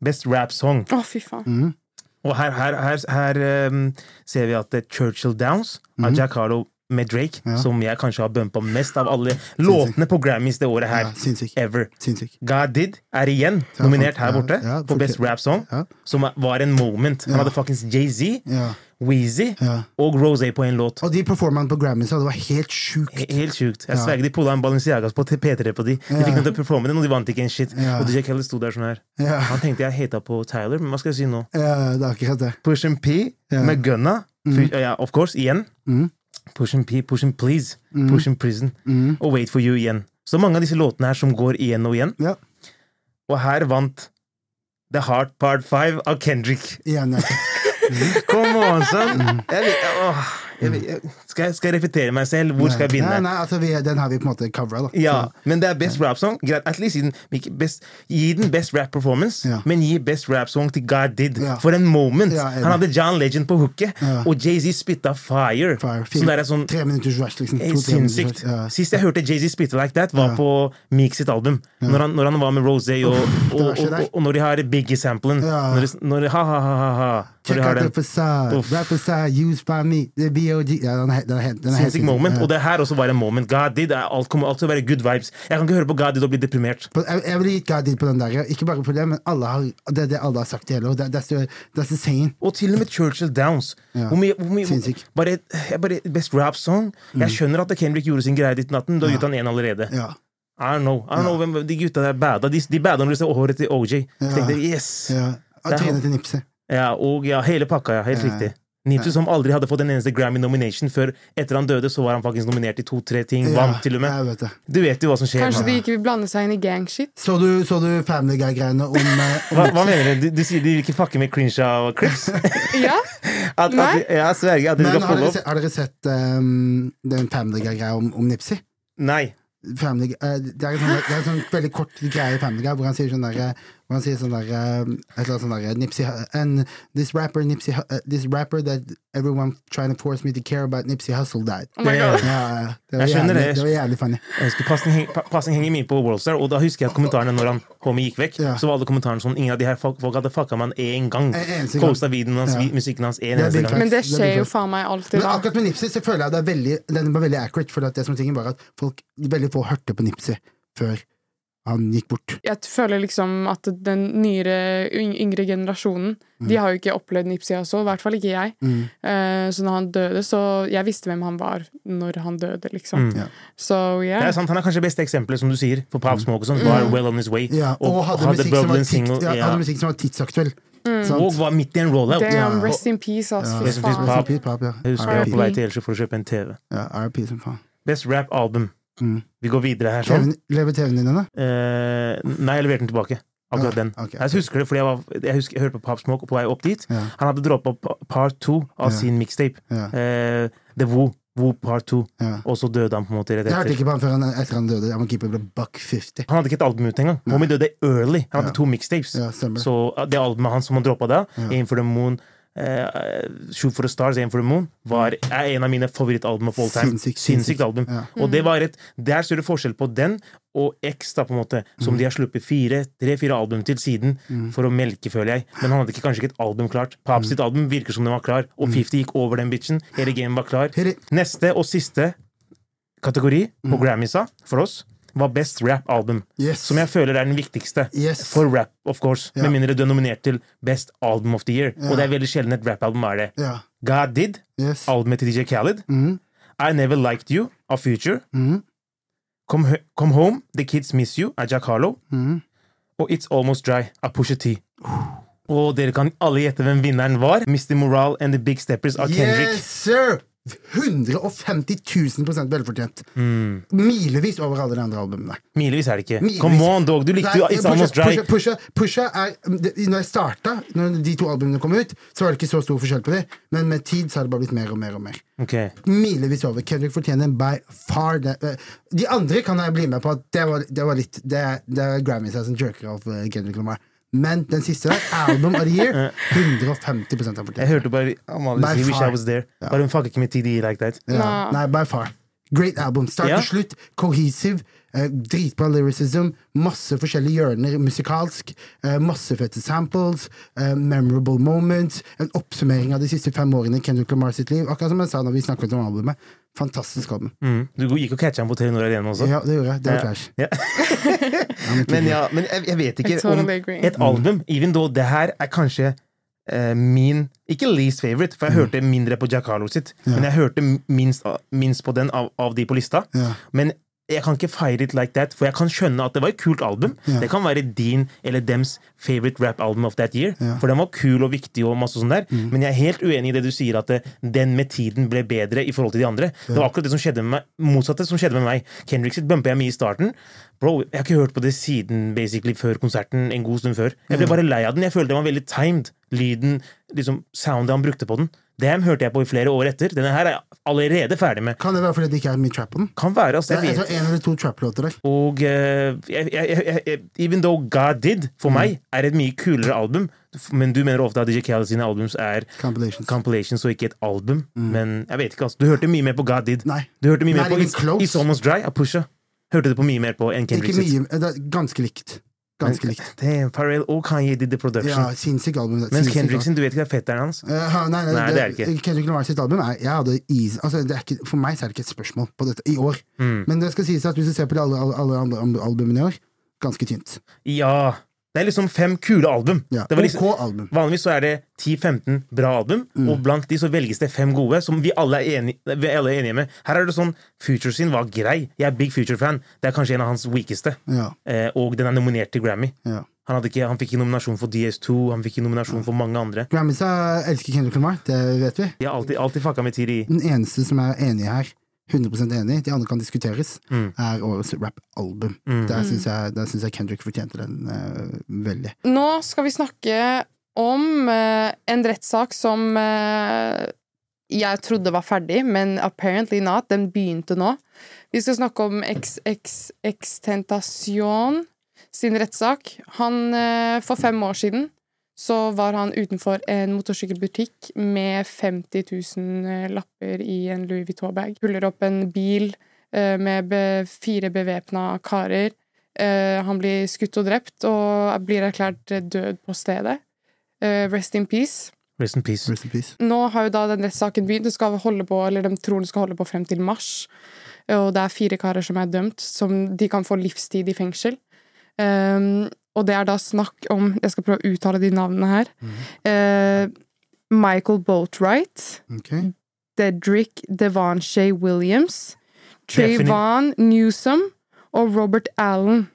[SPEAKER 4] Best rap song.
[SPEAKER 3] Å, fy faen.
[SPEAKER 4] Og her, her, her, her ehm, ser vi at det er Churchill Downs av
[SPEAKER 2] Mhm.
[SPEAKER 4] Jack Harlow med Drake, som jeg kanskje har bumpa mest av alle låtene på Grammys det året her.
[SPEAKER 2] Ja, sinnssyk.
[SPEAKER 4] Ever.
[SPEAKER 2] Sinnssyk.
[SPEAKER 4] God Did er igjen
[SPEAKER 2] Ja,
[SPEAKER 4] nominert
[SPEAKER 2] for-
[SPEAKER 4] her
[SPEAKER 2] ja,
[SPEAKER 4] borte
[SPEAKER 2] ja,
[SPEAKER 4] for
[SPEAKER 2] for-
[SPEAKER 4] Best Rap Song,
[SPEAKER 2] ja.
[SPEAKER 4] som var en moment. Han
[SPEAKER 2] Ja.
[SPEAKER 4] hadde fuckings Jay-Z,
[SPEAKER 2] Ja.
[SPEAKER 4] Weezy
[SPEAKER 2] Ja.
[SPEAKER 4] og Rosé på én låt.
[SPEAKER 2] Og de performerne på Grammys, det var helt sjukt.
[SPEAKER 4] He- Helt sjukt. Jeg sverger de pulla en Balenciagas på til P3 på de. De fikk dem til å performe den, og de vant ikke en shit.
[SPEAKER 2] Ja.
[SPEAKER 4] Og DJ Kelly sto der sånn her.
[SPEAKER 2] Ja.
[SPEAKER 4] Han tenkte jeg hata på Tyler, men hva skal jeg si nå?
[SPEAKER 2] Ja, Eh, det er akkurat det.
[SPEAKER 4] Push and P med Gunna.
[SPEAKER 2] Mm.
[SPEAKER 4] Fy- Ja, of course, igjen. Push and P, Push and Please,
[SPEAKER 2] Mm.
[SPEAKER 4] Push and Prison og Wait for You igjen. Så mange av disse låtene her som går igjen og igjen.
[SPEAKER 2] Ja.
[SPEAKER 4] Og her vant The Heart Part 5 av Kendrick.
[SPEAKER 2] Igjen, ja.
[SPEAKER 4] Come on, son!
[SPEAKER 2] Mm.
[SPEAKER 4] Jeg vet, åh, jeg vet, jeg, skal, jeg, skal jeg repetere meg selv? Hvor skal jeg begynne?
[SPEAKER 2] Nei, nei, altså, vi, den har vi på en måte covra, da.
[SPEAKER 4] Ja, men det er best rap song. Greit, at least gi den, ikke best, gi den best rap performance,
[SPEAKER 2] Ja.
[SPEAKER 4] men gi best rap song til God Did.
[SPEAKER 2] Ja.
[SPEAKER 4] For en moment!
[SPEAKER 2] Ja, enig.
[SPEAKER 4] Han hadde John Legend på hooket,
[SPEAKER 2] Ja.
[SPEAKER 4] og Jay-Z spytta fire.
[SPEAKER 2] Fire,
[SPEAKER 4] Så
[SPEAKER 2] fire.
[SPEAKER 4] det er sånn
[SPEAKER 2] Tre minutters rush, liksom.
[SPEAKER 4] helt
[SPEAKER 2] To-tre minutters
[SPEAKER 4] sinnssykt.
[SPEAKER 2] rush, ja.
[SPEAKER 4] Sist jeg hørte Jay-Z spytte like that, var på Meek sitt album. Når, han, når han var med Rosé, og, og,
[SPEAKER 2] verste
[SPEAKER 4] og,
[SPEAKER 2] der.
[SPEAKER 4] og, og når de har Biggie-samplen.
[SPEAKER 2] Ja.
[SPEAKER 4] Når, de- når de ha-ha-ha-ha. Når
[SPEAKER 2] Check
[SPEAKER 4] de
[SPEAKER 2] out
[SPEAKER 4] har
[SPEAKER 2] the
[SPEAKER 4] den.
[SPEAKER 2] facade,
[SPEAKER 4] Uff.
[SPEAKER 2] rap facade, used by me, the BOG Ja, den er, he- den er, he- den er helt
[SPEAKER 4] Sinnssykt moment.
[SPEAKER 2] Ja.
[SPEAKER 4] Og det her også var en moment. God Did er, alt kommer alltid til å være good vibes. Jeg kan ikke høre på God Did og bli deprimert.
[SPEAKER 2] På- Jeg, jeg ville gitt God deal på den der. ja. Ikke bare for det, men alle har, det er det alle har sagt i hele år. Det- That's, the- that's the saying.
[SPEAKER 4] Og til og med Churchill Downs.
[SPEAKER 2] Ja.
[SPEAKER 4] Hvor mye, hvor mye,
[SPEAKER 2] Sinnssyk. Mm.
[SPEAKER 4] bare, jeg bare, best rap song. Jeg skjønner at Kendrick gjorde sin greie ditt natten. Da gitt han én allerede.
[SPEAKER 2] Ja.
[SPEAKER 4] I don't know. I don't know hvem, de gutta der bada. De, de bada når de så håret til OJ. Så
[SPEAKER 2] Ja.
[SPEAKER 4] tenkte jeg, yes!
[SPEAKER 2] ja. Og
[SPEAKER 4] Det er-
[SPEAKER 2] trynet til Nipsey.
[SPEAKER 4] Ja, og ja, hele pakka, ja. Helt
[SPEAKER 2] Ja.
[SPEAKER 4] riktig. Nipsey som aldri hadde fått en eneste Grammy-nomination før etter han døde, så var han faktisk nominert i to-tre ting.
[SPEAKER 2] Ja,
[SPEAKER 4] Vant til og med.
[SPEAKER 2] Jeg vet det.
[SPEAKER 4] Du vet jo hva som skjer.
[SPEAKER 3] Kanskje
[SPEAKER 4] nå.
[SPEAKER 3] de ikke vil blande seg inn i gangshit?
[SPEAKER 2] Så du, så du Family Guy-greiene om, eh, om
[SPEAKER 4] Hva, hva mener du? du? Du sier de vil ikke fucke med Crinsha og Crips?
[SPEAKER 3] Ja?
[SPEAKER 4] At, at,
[SPEAKER 3] Nei.
[SPEAKER 4] jeg sverger at de
[SPEAKER 2] Men
[SPEAKER 4] skal
[SPEAKER 2] har
[SPEAKER 4] folde
[SPEAKER 2] dere,
[SPEAKER 4] opp.
[SPEAKER 2] se, har dere sett ehm, den Family Guy-greia om, om Nipsey?
[SPEAKER 4] Nei.
[SPEAKER 2] Family, Guy- eh, det, er en sånn, det er en sånn veldig kort greie i Family Guy hvor han sier sånn der, eh, hvor han sier sånn der eh, Et eller annet sånn der Nipsey Hu- And this rapper, Nipsey, Hu- eh, this rapper that everyone trying to force me to care about Nipsey Hustle died.
[SPEAKER 3] Oh my
[SPEAKER 4] Ja.
[SPEAKER 3] god.
[SPEAKER 2] Ja, ja, det, var
[SPEAKER 4] Jeg skjønner
[SPEAKER 2] jævlig,
[SPEAKER 4] det.
[SPEAKER 2] det var jævlig funny.
[SPEAKER 4] Jeg husker Passing, heng- pa- passing henger mye på Worldstar, og da husker jeg at kommentarene når han homie gikk vekk,
[SPEAKER 2] Ja.
[SPEAKER 4] så var alle kommentarene sånn Ingen av de her folk, folk hadde fucka med han én gang.
[SPEAKER 2] En eneste gang.
[SPEAKER 4] Kosta videoen hans,
[SPEAKER 2] Ja.
[SPEAKER 4] vi- musikken hans én
[SPEAKER 2] Det er
[SPEAKER 4] eneste
[SPEAKER 2] big
[SPEAKER 4] gang.
[SPEAKER 2] fact.
[SPEAKER 3] Men det
[SPEAKER 2] Det blir
[SPEAKER 3] skjer jo
[SPEAKER 2] fett.
[SPEAKER 3] faen meg alltid,
[SPEAKER 2] Men
[SPEAKER 3] da.
[SPEAKER 2] akkurat med Nipsey så føler jeg det er veldig Den var veldig accurate, for at det som tingen var at folk, veldig få hørte på Nipsey før han gikk bort.
[SPEAKER 3] Jeg føler liksom at den nyere, yng- yngre generasjonen De har jo ikke opplevd Nipsey også, i hvert fall ikke jeg.
[SPEAKER 4] Mm.
[SPEAKER 3] Eh, Så når han døde, så Jeg visste hvem han var når han døde, liksom.
[SPEAKER 2] Ja.
[SPEAKER 3] Så
[SPEAKER 4] Det
[SPEAKER 3] yeah.
[SPEAKER 4] er sant, Han er kanskje det beste eksempelet, som du sier, på Pop Smoke og sånn. Var well on his way.
[SPEAKER 2] Mm. Ja, og, hadde, musikk som var
[SPEAKER 4] Bublin
[SPEAKER 2] tikt,
[SPEAKER 4] single.
[SPEAKER 2] ja,
[SPEAKER 4] Ja.
[SPEAKER 2] hadde musikk som var tidsaktuell.
[SPEAKER 4] Og
[SPEAKER 3] Mm.
[SPEAKER 2] Sant?
[SPEAKER 4] var midt i en rollout.
[SPEAKER 3] Damn,
[SPEAKER 2] Ja.
[SPEAKER 3] rest in peace, ass.
[SPEAKER 2] Ja.
[SPEAKER 3] Fy
[SPEAKER 4] Rest in peace,
[SPEAKER 3] faen.
[SPEAKER 4] Pop.
[SPEAKER 2] Pop, pop, ja.
[SPEAKER 4] Jeg husker jeg var på
[SPEAKER 2] R.I.P.
[SPEAKER 4] vei til Elsjø for å kjøpe en TV.
[SPEAKER 2] Ja, R.I.P. som faen.
[SPEAKER 4] Best rap album.
[SPEAKER 2] Mm.
[SPEAKER 4] Vi går videre her sånn.
[SPEAKER 2] TV-en- Lever TV-en din ennå?
[SPEAKER 4] Eh, nei, jeg leverte den tilbake. Akkurat
[SPEAKER 2] Ah,
[SPEAKER 4] den.
[SPEAKER 2] ok,
[SPEAKER 4] Jeg husker det fordi jeg, var, jeg, husker, jeg hørte på Pop Smoke på vei opp dit.
[SPEAKER 2] Ja.
[SPEAKER 4] Han hadde droppa part two av
[SPEAKER 2] Ja.
[SPEAKER 4] sin mixtape.
[SPEAKER 2] Ja.
[SPEAKER 4] Eh, The Woo. Woo part two.
[SPEAKER 2] Ja.
[SPEAKER 4] Og så døde han på en måte rett
[SPEAKER 2] Jeg hørte
[SPEAKER 4] etter.
[SPEAKER 2] ikke på han før han, etter han døde. Jeg må keepe ble buck 50.
[SPEAKER 4] Han hadde ikke et album ute engang. Homie døde early. Han
[SPEAKER 2] Ja.
[SPEAKER 4] hadde to mixtapes.
[SPEAKER 2] Ja, stemmer.
[SPEAKER 4] Så uh, det albumet hans som han droppa da,
[SPEAKER 2] Ja.
[SPEAKER 4] Aim for the Moon, eh, Shoot for the Stars, Aim for the Moon, var, er en av mine favorittalbum of all time.
[SPEAKER 2] Sinnssykt, sinnssykt.
[SPEAKER 4] Sinnssykt album.
[SPEAKER 2] Ja.
[SPEAKER 4] Og det var et, Der ser du forskjell på den og X, da, på en måte,
[SPEAKER 2] Mm.
[SPEAKER 4] som de har sluppet fire, tre-fire album til siden for å melke, føler jeg. Men han hadde ikke, kanskje ikke et album klart.
[SPEAKER 2] Mm.
[SPEAKER 4] Pap sitt album virker som den var klar, og 50 gikk over den bitchen. Hele gamet var klar.
[SPEAKER 2] Heri.
[SPEAKER 4] Neste og siste kategori
[SPEAKER 2] Mm.
[SPEAKER 4] på Grammysa for oss var Best Rap Album,
[SPEAKER 2] Yes.
[SPEAKER 4] som jeg føler er den viktigste.
[SPEAKER 2] yes.
[SPEAKER 4] For rap, of course.
[SPEAKER 2] Ja.
[SPEAKER 4] Med mindre du er nominert til Best Album of the Year.
[SPEAKER 2] Ja.
[SPEAKER 4] Og det er veldig sjelden et rap-album er det.
[SPEAKER 2] Ja.
[SPEAKER 4] God Did,
[SPEAKER 2] Yes.
[SPEAKER 4] albumet til DJ Khaled.
[SPEAKER 2] Mhm.
[SPEAKER 4] I Never Liked You av Future.
[SPEAKER 2] Mhm.
[SPEAKER 4] Come, H- Come Home, The Kids Miss You av Jack Harlow.
[SPEAKER 2] Mhm.
[SPEAKER 4] Og It's Almost Dry av Pusha T. Og dere kan alle gjette hvem vinneren var. Mr. Moral and The Big Steppers av Kendrick.
[SPEAKER 2] Yes, sir! 150 000 velfortjent. Milevis over alle de andre albumene.
[SPEAKER 4] Milevis er det ikke.
[SPEAKER 2] Milevis.
[SPEAKER 4] Mm. Come on, dog! Du likte jo
[SPEAKER 2] Nei,
[SPEAKER 4] It's Almost Dry.
[SPEAKER 2] Pusha, Pusha, Pusha er det- Når jeg starta, når de to albumene kom ut, så var det ikke så stor forskjell på dem, men med tid så har det bare blitt mer og mer og mer.
[SPEAKER 4] Ok.
[SPEAKER 2] Milevis over. Kendrick fortjener by far det. eh, De andre kan jeg bli med på at det var, det var litt Det, er- det er Grammys her som jerker av eh, Kendrick Lamar. Men den siste der, Album of the Year, 150 har
[SPEAKER 4] Jeg
[SPEAKER 2] fortjent.
[SPEAKER 4] hørte bare Amalie
[SPEAKER 2] By
[SPEAKER 4] si 'Wish
[SPEAKER 2] far.
[SPEAKER 4] I Was There'. Bare hun fucker ikke med TD like that.
[SPEAKER 2] Ja. Nei, by far. Great album. Start
[SPEAKER 4] Ja.
[SPEAKER 2] til slutt. Cohesive. eh, dritbra lyricism. Masse forskjellige hjørner musikalsk. eh, masse fete samples. eh, memorable moments. En oppsummering av de siste fem årene i Kendrick Lamar sitt liv. Akkurat som jeg sa når vi snakket om albumet. Fantastisk album.
[SPEAKER 4] Mm. Du gikk og catcha ham på Telenor Arena også.
[SPEAKER 2] Ja, det gjorde jeg. Det var Clash.
[SPEAKER 4] Ja. men ja, men jeg, jeg vet
[SPEAKER 3] I
[SPEAKER 4] ikke om
[SPEAKER 3] totally agree.
[SPEAKER 4] et album Even though det her er kanskje eh, min Ikke least favorite,
[SPEAKER 2] Mm.
[SPEAKER 4] for jeg hørte mindre på Giacarlo sitt. Men jeg hørte minst, minst på den av, av de på lista.
[SPEAKER 2] Ja.
[SPEAKER 4] Men jeg kan ikke fire it like that, for jeg kan skjønne at det var et kult album.
[SPEAKER 2] Ja.
[SPEAKER 4] Det kan være din eller dems favorite rap album of that year. For den var kul og viktig, og masse sånn der
[SPEAKER 2] Mm.
[SPEAKER 4] men jeg er helt uenig i det du sier, at det, den med tiden ble bedre i forhold til de andre. Det var akkurat det som skjedde med meg, motsatte som skjedde med meg. Kendrick sitt bumpa jeg mye i starten. Bro, jeg har ikke hørt på det siden basically før konserten, en god stund før. Jeg ble bare lei av den. Jeg følte den var veldig timed. Lyden, liksom soundet han brukte på den. Dem hørte jeg på i flere år etter. Denne her er jeg allerede ferdig med.
[SPEAKER 2] Kan det være fordi det ikke er mye trap på den?
[SPEAKER 4] Kan være, altså.
[SPEAKER 2] Det
[SPEAKER 4] Jeg
[SPEAKER 2] er
[SPEAKER 4] vet
[SPEAKER 2] altså en eller to trap-låter der.
[SPEAKER 4] og eh, jeg, jeg, jeg, jeg, Even Though God Did, for
[SPEAKER 2] Mm.
[SPEAKER 4] meg, er et mye kulere album. Men du mener ofte at DJ Khaled sine albums er
[SPEAKER 2] Compilations. Mm.
[SPEAKER 4] compilations og ikke et album. Men jeg vet ikke, altså. Du hørte mye mer på God Did.
[SPEAKER 2] Nei.
[SPEAKER 4] Du hørte mye mer
[SPEAKER 2] Not
[SPEAKER 4] på
[SPEAKER 2] even
[SPEAKER 4] It's,
[SPEAKER 2] close.
[SPEAKER 4] It's Almost Dry av Pusha. Hørte du på mye mer på enn
[SPEAKER 2] Ikke
[SPEAKER 4] Kendrick sitt.
[SPEAKER 2] mye, eh, det er ganske likt. Ganske likt.
[SPEAKER 4] Damn, Pharrell og Kanye did the
[SPEAKER 2] Ja,
[SPEAKER 4] eh, production.
[SPEAKER 2] sinnssykt album.
[SPEAKER 4] Mens
[SPEAKER 2] sinnssykt
[SPEAKER 4] Kendrick
[SPEAKER 2] album.
[SPEAKER 4] sin, du vet ikke hva fetteren hans.
[SPEAKER 2] Eh, nei, nei,
[SPEAKER 4] Nei,
[SPEAKER 2] det,
[SPEAKER 4] det er det ikke.
[SPEAKER 2] Kendrick Lamar sitt album er, jeg hadde is, altså, det er ikke, For meg så er det ikke et spørsmål på dette i år.
[SPEAKER 4] Mm.
[SPEAKER 2] Men det skal sies at hvis du ser på de alle, alle, alle andre andre albumene i år, ganske tynt.
[SPEAKER 4] Ja. Det er liksom fem kule album.
[SPEAKER 2] Ja.
[SPEAKER 4] Det var liksom,
[SPEAKER 2] OK album.
[SPEAKER 4] Vanligvis så er det 10-15 bra album, og blant de så velges det fem gode, som vi alle er enige, vi alle er enige med. Her er det sånn Future sin var grei. Jeg er big Future-fan. Det er kanskje en av hans weakeste.
[SPEAKER 2] Ja,
[SPEAKER 4] Eh, og den er nominert til Grammy.
[SPEAKER 2] ja.
[SPEAKER 4] Han, hadde ikke, han fikk ikke nominasjon for DS2, han fikk ikke nominasjon for mange andre.
[SPEAKER 2] Grammys eh, elsker Kendrick Lamar, det vet vi.
[SPEAKER 4] Jeg har alltid, alltid fucka med E. Tiri.
[SPEAKER 2] Den eneste som er enig her, 100 enig, de andre kan diskuteres, er årets rap-album. Der syns
[SPEAKER 3] Mm.
[SPEAKER 2] jeg, der synes jeg Kendrick fortjente den eh, veldig.
[SPEAKER 3] Nå skal vi snakke om eh, en rettssak som eh, jeg trodde var ferdig, men apparently not. Den begynte nå. Vi skal snakke om Extentasjon sin rettssak. Han, eh, for fem år siden så var han utenfor en motorsykkelbutikk med 50 000 lapper i en Louis Vuitton-bag. Puller opp en bil eh, med be fire bevæpna karer. Eh, han blir skutt og drept og blir erklært død på stedet. Eh, rest in peace.
[SPEAKER 4] Rest in peace.
[SPEAKER 2] Rest in peace.
[SPEAKER 3] Nå har jo da den rettssaken begynt. Det skal holde på, eller De tror den skal holde på frem til mars. Og det er fire karer som er dømt, som de kan få livstid i fengsel. Um, og det er da snakk om Jeg skal prøve å uttale de navnene her. Eh, Michael Boatwright.
[SPEAKER 2] Ok.
[SPEAKER 3] Dedrick Devanche Williams.
[SPEAKER 4] Stephanie.
[SPEAKER 3] Trayvon Newsom og Robert Allen.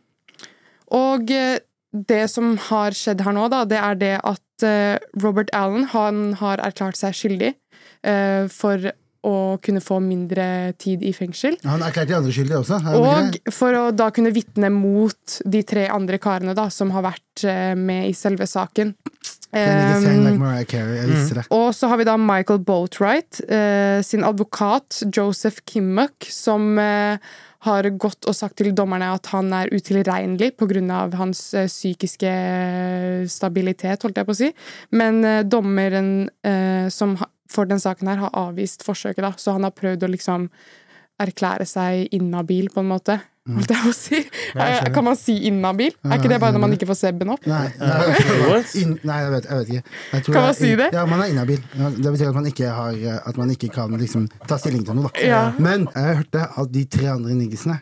[SPEAKER 3] Og eh, det som har skjedd her nå, da, det er det at eh, Robert Allen han har erklært seg skyldig eh, for å kunne få mindre tid i fengsel.
[SPEAKER 2] Han erklærte de andre skyldige også. er han ikke
[SPEAKER 3] Og
[SPEAKER 2] det?
[SPEAKER 3] for å da kunne vitne mot de tre andre karene da, som har vært eh, med i selve saken.
[SPEAKER 2] Can you sing
[SPEAKER 3] Eh,
[SPEAKER 2] like Mariah Carey? Jeg visste det.
[SPEAKER 3] og så har vi da Michael Boatwright, eh, sin advokat Joseph Kimmuck, som eh, har gått og sagt til dommerne at han er utilregnelig pga. hans eh, psykiske eh, stabilitet, holdt jeg på å si. Men eh, dommeren eh, som ha- for den saken her har avvist forsøket, da. Så han har prøvd å liksom erklære seg inhabil, på en måte. Holdt jeg på å si.
[SPEAKER 4] Mm. jeg skjønner.
[SPEAKER 3] kan man si inhabil? Er ikke det bare når man ikke får sebben opp?
[SPEAKER 2] Nei, nei,
[SPEAKER 4] What?
[SPEAKER 2] inn, nei jeg, vet, jeg vet ikke. Jeg tror
[SPEAKER 3] Kan man
[SPEAKER 2] jeg-
[SPEAKER 3] si det?
[SPEAKER 2] Ja, man er inhabil. Ja, Det betyr at man ikke, har, eh, at man ikke kan liksom, ta stilling til noe. Da.
[SPEAKER 3] Ja.
[SPEAKER 2] Men jeg hørte at de tre andre niggisene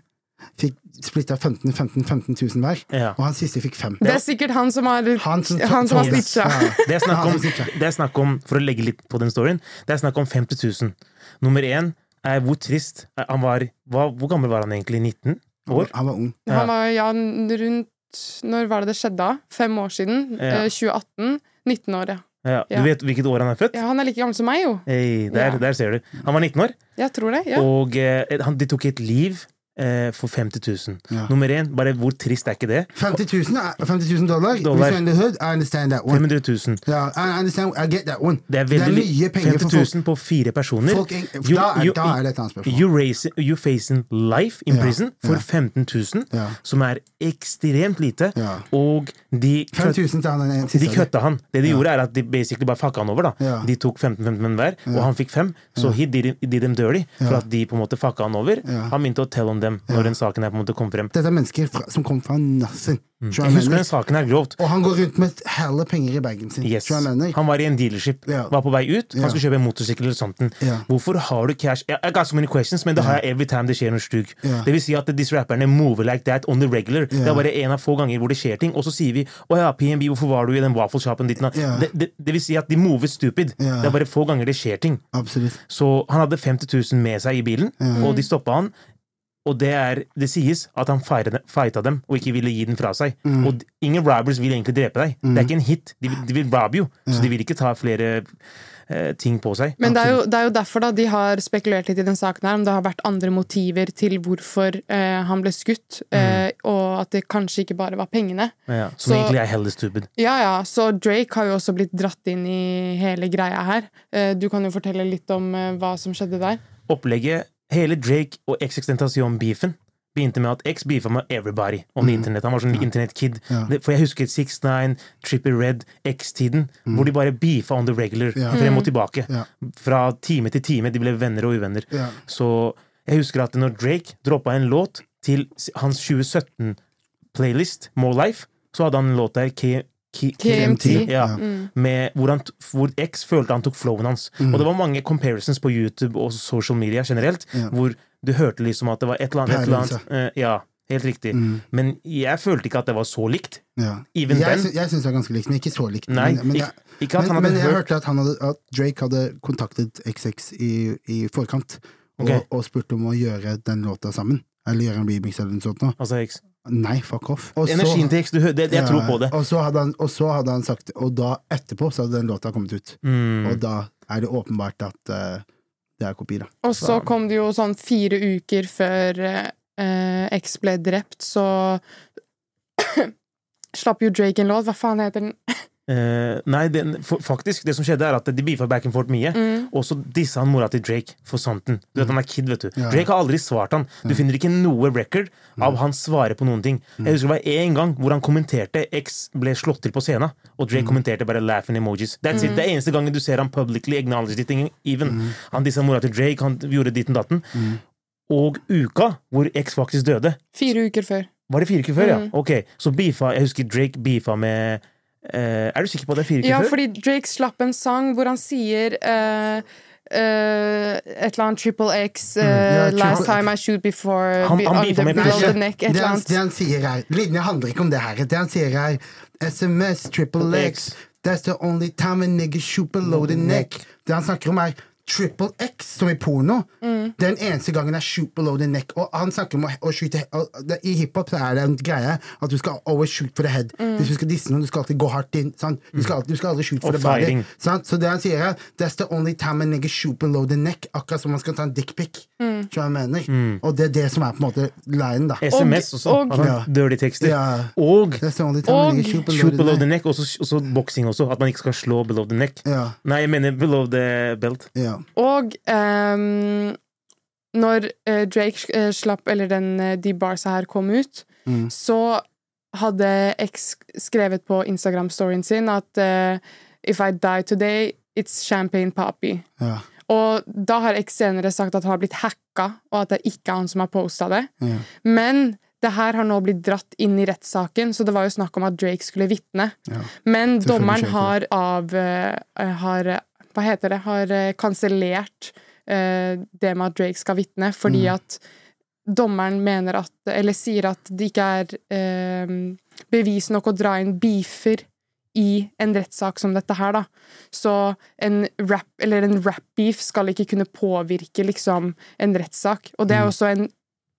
[SPEAKER 2] fikk splitta 15 15 15 000 hver,
[SPEAKER 4] Ja.
[SPEAKER 2] og han siste fikk fem.
[SPEAKER 3] Det er sikkert han som har,
[SPEAKER 2] Han som-
[SPEAKER 3] han som har
[SPEAKER 2] Thomas.
[SPEAKER 3] snitcha.
[SPEAKER 2] Ja.
[SPEAKER 4] Det er, snakk om,
[SPEAKER 2] Ja, sikkert.
[SPEAKER 4] det er snakk om, for å legge litt på den storyen, det er snakk om 50 000. Nummer én er hvor trist er- han var hva, Hvor gammel var han egentlig? 19 år?
[SPEAKER 2] Han var ung.
[SPEAKER 4] Ja.
[SPEAKER 3] Han var ja, rundt Når var det det skjedde? da? Fem år siden?
[SPEAKER 4] Ja.
[SPEAKER 3] Eh, 2018? 19 år, ja.
[SPEAKER 4] Ja.
[SPEAKER 3] Ja.
[SPEAKER 4] Du vet hvilket år han er født?
[SPEAKER 3] Ja, han er like gammel som meg, jo.
[SPEAKER 4] Hey, der,
[SPEAKER 3] Ja.
[SPEAKER 4] der ser du. Han var 19 år,
[SPEAKER 3] Jeg tror det. Ja.
[SPEAKER 4] og eh, han, de tok et liv eh, for 50 000.
[SPEAKER 2] Ja.
[SPEAKER 4] Nummer én, bare hvor trist er ikke det?
[SPEAKER 2] 50 000, er- 50 000 eh, dollar?
[SPEAKER 4] Dollar.
[SPEAKER 2] Hvis you're in the hood, I understand that one.
[SPEAKER 4] 500 000.
[SPEAKER 2] Ja, I understand, I get that one.
[SPEAKER 4] Det er, veldig,
[SPEAKER 2] mye penger
[SPEAKER 4] 50
[SPEAKER 2] for folk.
[SPEAKER 4] 000 på fire personer.
[SPEAKER 2] folk da, er, da er det et annet spørsmål.
[SPEAKER 4] You raise, you facing life in
[SPEAKER 2] Ja,
[SPEAKER 4] prison for
[SPEAKER 2] ja.
[SPEAKER 4] 15 000,
[SPEAKER 2] Ja.
[SPEAKER 4] som er ekstremt lite,
[SPEAKER 2] Ja.
[SPEAKER 4] og de
[SPEAKER 2] 5000 til han den
[SPEAKER 4] De
[SPEAKER 2] siste.
[SPEAKER 4] køtta han. Det de gjorde, er at de basically bare fucka han over. da.
[SPEAKER 2] Ja.
[SPEAKER 4] De tok 15-15 hver, og han fikk fem. Så he did, did them dirty for
[SPEAKER 2] Ja.
[SPEAKER 4] at de på en måte fucka han over.
[SPEAKER 2] Ja.
[SPEAKER 4] Han begynte å tell on them når den saken her på en måte kom frem.
[SPEAKER 2] Dette er mennesker fra, som kom fra nassen. Tror jeg
[SPEAKER 4] Mm. Jeg husker
[SPEAKER 2] mener.
[SPEAKER 4] den saken her grovt.
[SPEAKER 2] Og han går rundt med et hell av penger i bagen sin.
[SPEAKER 4] Yes.
[SPEAKER 2] Tror jeg mener.
[SPEAKER 4] Han var i en dealership.
[SPEAKER 2] Ja.
[SPEAKER 4] Var på vei ut. Han
[SPEAKER 2] Ja.
[SPEAKER 4] skulle kjøpe en motorsykkel eller sånt.
[SPEAKER 2] Ja.
[SPEAKER 4] Hvorfor har du cash? I I got so many questions, men det har jeg every time det skjer noe stug.
[SPEAKER 2] Ja.
[SPEAKER 4] Det vil si at disse rapperne move like that on the regular. Det er bare en av få ganger hvor det skjer ting. Og så sier vi å ja, PNB, hvorfor var du i den waffle-shoppen ditt? nå?»
[SPEAKER 2] Ja.
[SPEAKER 4] Det, det, det vil si at de mover stupid.
[SPEAKER 2] Ja.
[SPEAKER 4] Det er bare få ganger det skjer ting.
[SPEAKER 2] Absolutt.
[SPEAKER 4] Så han hadde 50 000 med seg i bilen,
[SPEAKER 2] Mm.
[SPEAKER 4] og de stoppa han. Og det, er, det sies at han fighta fighta dem og ikke ville gi den fra seg.
[SPEAKER 2] Mm.
[SPEAKER 4] Og d- ingen robbers vil egentlig drepe deg. Det er ikke en hit. De, vil- de vil rob you, så
[SPEAKER 2] Mm.
[SPEAKER 4] de vil ikke ta flere eh, ting på seg.
[SPEAKER 3] Men det er, jo, det er jo derfor da de har spekulert litt i den saken her, om det har vært andre motiver til hvorfor eh, han ble skutt,
[SPEAKER 4] Mhm.
[SPEAKER 3] eh, og at det kanskje ikke bare var pengene.
[SPEAKER 4] Ja, som
[SPEAKER 3] Så-
[SPEAKER 4] egentlig er heller stupid.
[SPEAKER 3] Ja, ja, så Drake har jo også blitt dratt inn i hele greia her. Eh, du kan jo fortelle litt om eh, hva som skjedde der.
[SPEAKER 4] Opplegget, hele Drake og X-Extentation-beefen begynte med at X beefa med everybody om internett. Han var sånn internettkid.
[SPEAKER 2] Mm. Ja.
[SPEAKER 4] Det- For jeg husker 6ix9ine, Trippie Red, X-tiden, hvor de bare beefa on the regular
[SPEAKER 2] Mm. Ja.
[SPEAKER 4] frem og tilbake.
[SPEAKER 2] Ja.
[SPEAKER 4] Fra time til time. De ble venner og uvenner.
[SPEAKER 2] Ja.
[SPEAKER 4] Så jeg husker at når Drake droppa en låt til s- hans 2017-playlist, More Life, så hadde han en låt der, K K
[SPEAKER 3] KMT.
[SPEAKER 4] Ja,
[SPEAKER 2] Ja.
[SPEAKER 4] med hvor, han, t- hvor X følte han tok flowen hans.
[SPEAKER 2] Mm.
[SPEAKER 4] Og det var mange comparisons på YouTube og social media generelt,
[SPEAKER 2] Ja.
[SPEAKER 4] hvor du hørte liksom at det var et eller annet, et eller annet eh, Ja, helt riktig.
[SPEAKER 2] Mm.
[SPEAKER 4] Men jeg følte ikke at det var så likt.
[SPEAKER 2] Ja.
[SPEAKER 4] Even
[SPEAKER 2] jeg
[SPEAKER 4] then-
[SPEAKER 2] sy- jeg syns det var ganske likt, men ikke så likt.
[SPEAKER 4] Nei,
[SPEAKER 2] men, men, jeg,
[SPEAKER 4] ikke, ikke at
[SPEAKER 2] men,
[SPEAKER 4] han hadde
[SPEAKER 2] men jeg
[SPEAKER 4] hørt
[SPEAKER 2] hørte at, han hadde, at Drake hadde kontaktet XX i, i forkant og,
[SPEAKER 4] Ok.
[SPEAKER 2] og spurt om å gjøre den låta sammen. Eller gjøre en remix eller noe sånt. nå.
[SPEAKER 4] Altså X.
[SPEAKER 2] Nei, fuck off. Og så-
[SPEAKER 4] Energien til X, du hø- det, jeg tror på det.
[SPEAKER 2] Ja, Og så, hadde han, og så hadde han sagt Og da etterpå så hadde den låta kommet ut.
[SPEAKER 4] Mm.
[SPEAKER 2] Og da er det åpenbart at eh, det er kopi, da.
[SPEAKER 3] Og så kom det jo sånn fire uker før eh, eh, X ble drept, så slapp jo Drake en låt. Hva faen heter den?
[SPEAKER 4] Eh, nei, den, fa- faktisk, det som skjedde, er at de beefa back and forth mye. Og så dissa han mora til Drake for santen. Du vet, Han er kid, vet du.
[SPEAKER 2] Ja.
[SPEAKER 4] Drake har aldri svart han. Du finner ikke noe record av han svarer på noen ting. Jeg husker det var én gang hvor han kommenterte X ble slått til på scenen, og Drake kommenterte bare laughing emojis. That's it. Det er eneste gangen du ser han publicly acknowledge it even. Han dissa mora til Drake, han gjorde ditten datten. Og uka hvor X faktisk døde,
[SPEAKER 3] Fire uker før.
[SPEAKER 4] var det fire uker før,
[SPEAKER 3] Mm.
[SPEAKER 4] ja? Ok, så beefa, jeg husker Drake beefa med eh, Er du sikker på at det er fire uker
[SPEAKER 3] Ja,
[SPEAKER 4] før?
[SPEAKER 3] fordi Drake slapp en sang hvor han sier eh, eh, et eller annet Triple X eh,
[SPEAKER 2] ja, Triple
[SPEAKER 3] Last
[SPEAKER 2] X.
[SPEAKER 3] time I shoot before
[SPEAKER 4] Han-
[SPEAKER 3] be
[SPEAKER 4] han
[SPEAKER 3] on
[SPEAKER 4] beefa
[SPEAKER 3] the,
[SPEAKER 4] med
[SPEAKER 3] below
[SPEAKER 4] Pusha.
[SPEAKER 3] the neck, et
[SPEAKER 2] Det
[SPEAKER 3] eller
[SPEAKER 2] han, det
[SPEAKER 3] annet.
[SPEAKER 2] han sier her Linja handler ikke om det her. Det han sier her, SMS, triple X That's the only time a nigga shoot below the neck. Det han snakker om, er triple X, som i porno.
[SPEAKER 3] Mm.
[SPEAKER 2] Det er den eneste gangen det er shoot below the neck. Og han snakker om å, å skyte og, det, I hiphop så er det en greie at du skal always shoot for the head.
[SPEAKER 3] Mm.
[SPEAKER 2] Hvis du skal disse noen, du skal alltid gå hardt inn. Sant? Du, skal alltid, du skal aldri shoot
[SPEAKER 4] Og
[SPEAKER 2] for the body.
[SPEAKER 4] firing.
[SPEAKER 2] Sant? Så det han sier, er That's the only time a nigga shoot below the neck. Akkurat som man skal ta en dickpic. Mm. Og det er det som er på en måte linen, da.
[SPEAKER 4] SMS også.
[SPEAKER 3] og-
[SPEAKER 4] at han-
[SPEAKER 2] Ja.
[SPEAKER 4] Dirty tekster.
[SPEAKER 2] Ja.
[SPEAKER 4] Og
[SPEAKER 2] That's the only time
[SPEAKER 3] Og
[SPEAKER 2] a nigga shoot below,
[SPEAKER 4] shoot below the
[SPEAKER 2] neck.
[SPEAKER 4] neck, og så- og så boksing også. At man ikke skal slå below the neck.
[SPEAKER 2] Ja,
[SPEAKER 4] Nei, jeg mener below the belt.
[SPEAKER 2] ja.
[SPEAKER 3] Og ehm, når eh, Drake eh, slapp, eller den, eh, de barsa her kom ut,
[SPEAKER 2] Mm.
[SPEAKER 3] så hadde X skrevet på Instagram-storyen sin at eh, If I die today, it's champagne poppy.
[SPEAKER 2] Ja,
[SPEAKER 3] Og da har X senere sagt at han har blitt hacka, og at det ikke er han som har posta det.
[SPEAKER 2] ja.
[SPEAKER 3] Men det her har nå blitt dratt inn i rettssaken, så det var jo snakk om at Drake skulle vitne.
[SPEAKER 2] Ja.
[SPEAKER 3] Men
[SPEAKER 2] Selvfølgelig
[SPEAKER 3] dommeren
[SPEAKER 2] skjer
[SPEAKER 3] har av eh, har, eh, Hva heter det? Har eh, kansellert eh, det med at Drake skal vitne, fordi
[SPEAKER 2] Mm.
[SPEAKER 3] at dommeren mener at Eller sier at det ikke er eh, bevis nok å dra inn beefer i en rettssak som dette her, da. Så en rap,
[SPEAKER 2] Mm.
[SPEAKER 3] eller en rap-beef skal ikke kunne påvirke liksom en rettssak. Og det er også en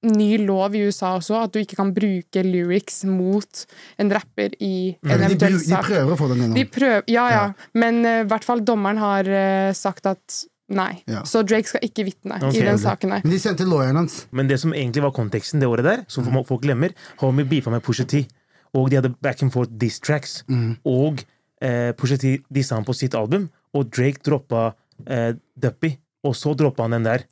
[SPEAKER 3] ny lov i USA også, at du ikke kan bruke lyrics mot en rapper i
[SPEAKER 2] Mm.
[SPEAKER 3] en
[SPEAKER 2] De,
[SPEAKER 3] eventuell
[SPEAKER 2] bru- de
[SPEAKER 3] sak.
[SPEAKER 2] prøver å få den
[SPEAKER 3] De
[SPEAKER 2] gjennom.
[SPEAKER 3] prøver, ja, ja.
[SPEAKER 2] Mm. Ja.
[SPEAKER 3] Men eh, i hvert fall dommeren har eh, sagt at nei.
[SPEAKER 2] Ja.
[SPEAKER 3] Så Drake skal ikke vitne
[SPEAKER 4] Ok.
[SPEAKER 3] i den saken der.
[SPEAKER 2] Men de sendte lawyeren hans.
[SPEAKER 4] Men det som egentlig var konteksten det året der, som folk glemmer, Homie beefa med Pusha T. Og de hadde back and forth diss tracks. Og eh, Pusha T dissa han på sitt album, og Drake droppa eh, Duppy. Og så droppa han den der.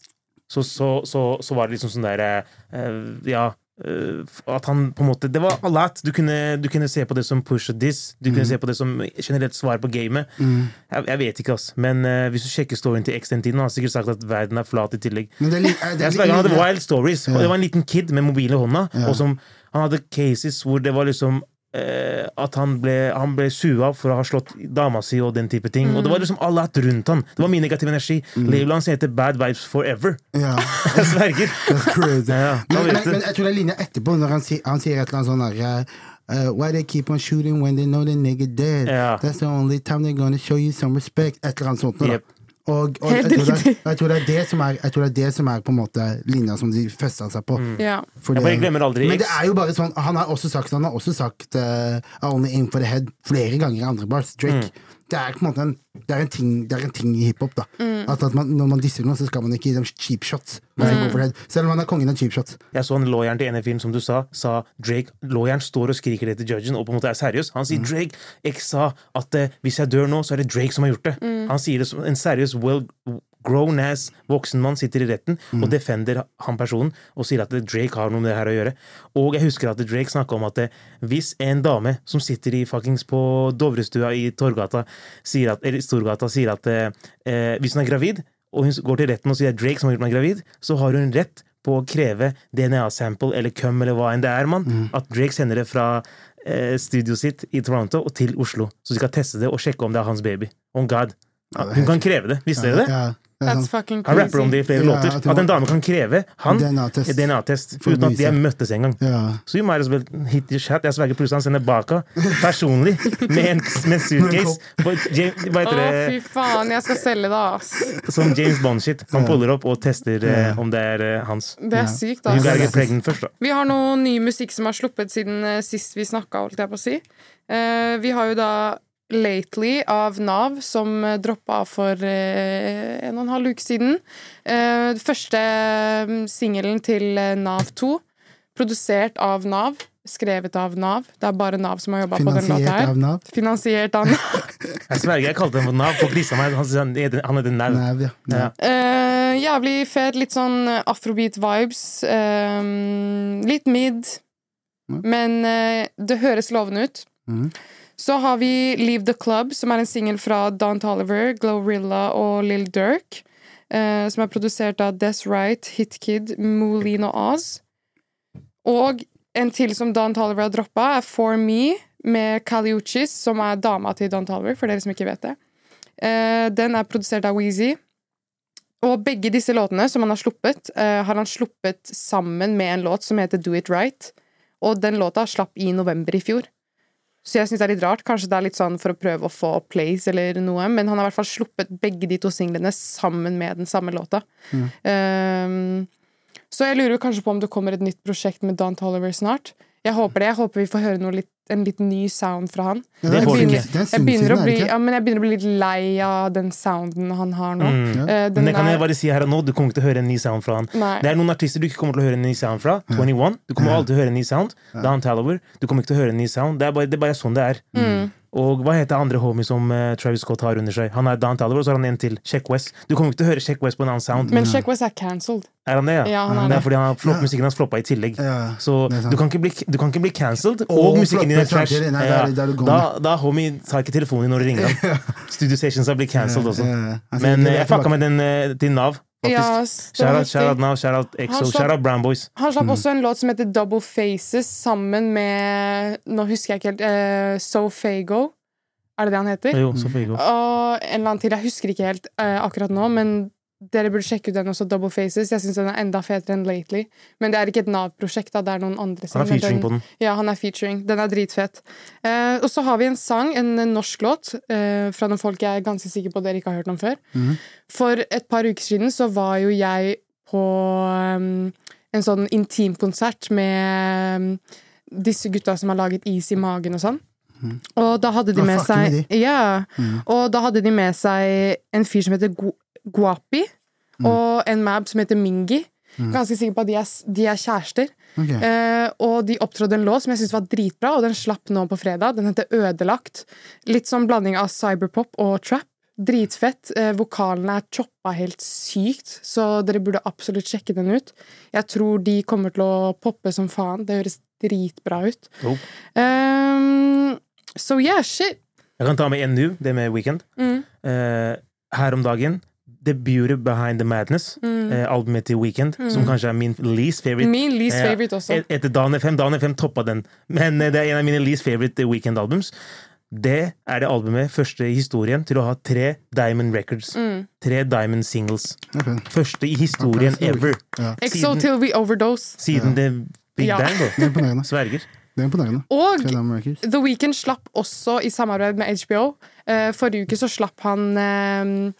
[SPEAKER 4] Så, så, så, så var det liksom sånn der eh, eh, Ja. eh, at han på en måte Det var a lot. Du kunne, du kunne se på det som push og diss. Du kunne se på det som generelt svar på gamet. Jeg, jeg vet ikke, ass. Men eh, hvis du sjekker storyen til X den tiden, han har sikkert sagt at verden er flat i tillegg.
[SPEAKER 2] Men det er litt, det
[SPEAKER 4] Jeg
[SPEAKER 2] er
[SPEAKER 4] sverger, han hadde
[SPEAKER 2] litt,
[SPEAKER 4] wild stories. Og det var en liten kid med mobil i hånda. Og som, han hadde cases hvor det var liksom eh, at han ble, han ble sua for å ha slått dama si og den type ting. Og det var liksom alle hatt rundt han. Det var mye negativ energi. Livet hans heter Bad Vibes Forever.
[SPEAKER 2] ja,
[SPEAKER 4] Jeg sverger.
[SPEAKER 2] that's crazy.
[SPEAKER 4] Ja,
[SPEAKER 2] Men,
[SPEAKER 4] han
[SPEAKER 2] men,
[SPEAKER 4] vet
[SPEAKER 2] men
[SPEAKER 4] det.
[SPEAKER 2] jeg tror det er linja etterpå, når han, si, han sier et eller annet sånn der eh, Why they keep on shooting when they know the nigga dead?
[SPEAKER 4] Ja.
[SPEAKER 2] That's the only time they're gonna show you some respect. Et eller annet sånt. noe,
[SPEAKER 4] Jep.
[SPEAKER 2] Da. Og, og jeg,
[SPEAKER 3] Helt
[SPEAKER 2] tror det,
[SPEAKER 3] riktig.
[SPEAKER 2] jeg tror det er det som er Jeg tror det er det som er på en måte linja som de festa seg på.
[SPEAKER 3] Ja.
[SPEAKER 2] Fordi-
[SPEAKER 4] Jeg bare glemmer aldri
[SPEAKER 2] Men det
[SPEAKER 4] X.
[SPEAKER 2] er jo bare sånn Han har også sagt Han har også sagt eh, I Only aim for the head flere ganger i andre bars. Drake. Det er på en måte en, det er en, ting, det er en ting i hiphop. da At, at man, Når man disser noen, så skal man ikke gi dem cheap shots. Man skal gå for the head Selv om man er kongen av cheap shots.
[SPEAKER 4] Jeg så en lawyeren til NFI-en som du sa, sa Drake Lawyeren står og skriker det til judgen og på en måte er seriøs. Han sier Drake X sa at eh, hvis jeg dør nå, så er det Drake som har gjort det. Han sier det som en seriøs well grown ass voksen mann sitter i retten og defender han personen og sier at eh, Drake har noe med det her å gjøre. Og jeg husker at Drake snakka om at eh, hvis en dame som sitter i fuckings på Dovrestua i Torgata, sier at, eller Storgata, sier at eh, eh, hvis hun er gravid, og hun går til retten og sier at Drake som har gjort meg gravid, så har hun rett på å kreve DNA-sample eller cum eller hva enn det er, mann.
[SPEAKER 2] Mm.
[SPEAKER 4] At Drake sender det fra eh, studioet sitt i Toronto og til Oslo. Så de skal teste det og sjekke om det er hans baby. Oh god. Hun kan kreve det. Visste dere det?
[SPEAKER 2] Ja, det er
[SPEAKER 3] That's
[SPEAKER 2] sant.
[SPEAKER 3] fucking
[SPEAKER 4] Han rapper om
[SPEAKER 3] crazy.
[SPEAKER 4] det i flere
[SPEAKER 2] Ja,
[SPEAKER 4] låter.
[SPEAKER 2] at det
[SPEAKER 4] At
[SPEAKER 2] var-
[SPEAKER 4] en dame kan kreve han
[SPEAKER 2] DNA-test.
[SPEAKER 4] DNA-test
[SPEAKER 2] For å
[SPEAKER 4] uten at de
[SPEAKER 2] bevise.
[SPEAKER 4] har møttes engang.
[SPEAKER 2] Ja.
[SPEAKER 4] Så you might as well hit your chat. Jeg sverger plutselig han sender Baka personlig med en, med en suitcase på et James, hva
[SPEAKER 3] Å,
[SPEAKER 4] heter det,
[SPEAKER 3] fy faen, jeg skal selge det, ass.
[SPEAKER 4] som James Bond-shit. Han puller opp og tester eh, om det er eh, hans.
[SPEAKER 3] Det er sykt,
[SPEAKER 4] Hun
[SPEAKER 3] ass.
[SPEAKER 4] er pregnant først, da.
[SPEAKER 3] Vi har noe ny musikk som har sluppet siden eh, sist vi snakka, holdt jeg på å si. Eh, vi har jo da Lately av Nav, som eh, droppa av for eh, en og en halv uke siden. Eh, den første mm, singelen til eh, Nav 2, produsert av Nav, skrevet av Nav. Det er bare Nav som har jobba på den låta
[SPEAKER 2] Finansiert
[SPEAKER 3] her.
[SPEAKER 2] av Nav.
[SPEAKER 3] Finansiert av Nav.
[SPEAKER 4] Jeg sverger, jeg kalte den for Nav. Folk dissa meg. Han sa han heter- han heter Nav.
[SPEAKER 2] Nav, ja. Nav.
[SPEAKER 4] Ja.
[SPEAKER 3] Eh, jævlig fet, litt sånn afrobeat-vibes. eh, litt mid,
[SPEAKER 2] Ja.
[SPEAKER 3] men eh, det høres lovende ut.
[SPEAKER 2] Mhm.
[SPEAKER 3] Så har vi Leave the Club, som er en singel fra Don Toliver, Glorilla og Lil Durk. eh, som er produsert av Des Right, Hit Kid, Moulin og Oz. Og en til som Don Toliver har droppa, er For Me med Caliuchis, som er dama til Don Toliver, for dere som ikke vet det. Eh, den er produsert av Weezy. Og begge disse låtene som han har sluppet, eh, har han sluppet sammen med en låt som heter Do It Right. Og den låta slapp i november i fjor. Så jeg syns det er litt rart. Kanskje det er litt sånn for å prøve å få plays eller noe, men han har i hvert fall sluppet begge de to singlene sammen med den samme låta. Ehm, så jeg lurer jo kanskje på om det kommer et nytt prosjekt med Don Toliver snart. Jeg håper det. Jeg håper vi får høre noe litt, en litt ny sound fra han.
[SPEAKER 2] Ja,
[SPEAKER 4] Det
[SPEAKER 2] er
[SPEAKER 3] Jeg
[SPEAKER 2] en
[SPEAKER 4] får du
[SPEAKER 2] stund-
[SPEAKER 3] begynner,
[SPEAKER 4] ikke.
[SPEAKER 2] det er en
[SPEAKER 3] jeg
[SPEAKER 2] stund
[SPEAKER 3] begynner,
[SPEAKER 2] siden,
[SPEAKER 3] å
[SPEAKER 2] er det
[SPEAKER 3] bli,
[SPEAKER 2] ikke?
[SPEAKER 3] ja, men jeg begynner å bli litt lei av den sounden han har nå.
[SPEAKER 4] Mm.
[SPEAKER 3] Eh, den
[SPEAKER 4] Men det kan jeg
[SPEAKER 3] er-
[SPEAKER 4] bare si her og nå, du kommer ikke til å høre en ny sound fra han.
[SPEAKER 3] Nei.
[SPEAKER 4] Det er noen artister du ikke kommer til å høre en ny sound fra. 21. Du kommer alltid til å høre en ny sound. Down Talower. Du kommer ikke til å høre en ny sound. Det er bare, det er bare sånn det er.
[SPEAKER 3] Mm.
[SPEAKER 4] Og hva heter andre homie som eh, Travis Scott har under seg? Han er Down Talower, og så har han en til. Check West. Du kommer ikke til å høre Check West på en annen sound.
[SPEAKER 3] Men Check West er cancelled.
[SPEAKER 4] Er han det, ja?
[SPEAKER 3] Ja, han er
[SPEAKER 4] det
[SPEAKER 3] det.
[SPEAKER 4] er fordi han har flopp, musikken hans floppa i tillegg.
[SPEAKER 2] Ja,
[SPEAKER 4] så
[SPEAKER 2] det er sant.
[SPEAKER 4] du kan ikke bli, du kan ikke bli cancelled, og,
[SPEAKER 2] Og
[SPEAKER 4] musikken din er
[SPEAKER 2] floppe
[SPEAKER 4] trash.
[SPEAKER 2] samtidig. Nei,
[SPEAKER 4] Ja.
[SPEAKER 2] da er du- da er du gone.
[SPEAKER 4] da, da homie tar ikke telefonen når du ringer ham. Studio Sessions har blitt cancelled også.
[SPEAKER 2] Ja, ja. Altså,
[SPEAKER 4] Men
[SPEAKER 2] det er
[SPEAKER 4] eh, jeg fucka med den eh, til Nav,
[SPEAKER 3] Ja,
[SPEAKER 4] faktisk.
[SPEAKER 3] ass, det var
[SPEAKER 4] Shout-out
[SPEAKER 3] riktig.
[SPEAKER 4] shout Nav, shout-out
[SPEAKER 3] Han
[SPEAKER 4] Exo,
[SPEAKER 3] slapp-
[SPEAKER 4] shout-out Brown Boys.
[SPEAKER 3] Han slapp også en låt som heter Double Faces sammen med Nå husker jeg ikke helt eh, So Fago. Er det det han heter?
[SPEAKER 4] Jo, så får vi gå.
[SPEAKER 3] Og en eller annen til. Jeg husker ikke helt eh, akkurat nå, men dere burde sjekke ut den også, Double Faces. Jeg syns den er enda fetere enn Lately. Men det er ikke et Nav-prosjekt, da. Det er noen andre
[SPEAKER 4] Han
[SPEAKER 3] som
[SPEAKER 4] har featuring på den.
[SPEAKER 3] Ja, han er featuring. Den er dritfet. Eh, og så har vi en sang, en norsk låt, eh, fra noen folk jeg er ganske sikker på dere ikke har hørt Mhm. om før. For et par uker siden så var jo jeg på um, en sånn intimkonsert med mm, disse gutta som har laget is i magen og sånn. Og da hadde de Mhm.
[SPEAKER 2] Ah,
[SPEAKER 3] med
[SPEAKER 2] fuck,
[SPEAKER 3] seg
[SPEAKER 2] med
[SPEAKER 3] Ja. Og da hadde de med seg en fyr som heter Gu- Guapi, og en mab som heter Mingi. Ganske sikker på at de er, s- de er kjærester.
[SPEAKER 2] Ok.
[SPEAKER 3] Eh, og de opptrådde en låt som jeg syntes var dritbra, og den slapp nå på fredag. Den heter Ødelagt. Litt sånn blanding av cyberpop og trap. Dritfett. Eh, vokalene er choppa helt sykt, så dere burde absolutt sjekke den ut. Jeg tror de kommer til å poppe som faen. Det høres dritbra ut.
[SPEAKER 4] Jo.
[SPEAKER 3] Um, so yeah, shit.
[SPEAKER 4] Jeg kan ta med en nå, det med Weekend.
[SPEAKER 3] Mm.
[SPEAKER 4] Eh, her om dagen. The Beauty Behind the Madness.
[SPEAKER 3] Mm.
[SPEAKER 4] eh, albumet til Weekend, som kanskje er min least favorite.
[SPEAKER 3] Min least
[SPEAKER 4] Ja,
[SPEAKER 3] favorite også.
[SPEAKER 4] Eh, et- Etter Dan FM. Dan FM toppa den. Men eh, det er en av mine least favorite eh, Weekend albums. Det er det albumet, første i historien, til å ha tre Diamond Records.
[SPEAKER 3] Mm.
[SPEAKER 4] Tre Diamond Singles.
[SPEAKER 2] Ok.
[SPEAKER 4] Første i historien
[SPEAKER 2] Applaus.
[SPEAKER 4] ever.
[SPEAKER 2] Ja.
[SPEAKER 3] Exo till we overdose.
[SPEAKER 4] Siden det Big
[SPEAKER 3] Ja.
[SPEAKER 4] Bang,
[SPEAKER 2] Det er
[SPEAKER 4] da.
[SPEAKER 2] imponerende.
[SPEAKER 4] Sverger.
[SPEAKER 2] Det er imponerende.
[SPEAKER 3] Og
[SPEAKER 2] Tre Diamond Records.
[SPEAKER 3] The Weeknd slapp også i samarbeid med HBO. eh, forrige uke så slapp han eh,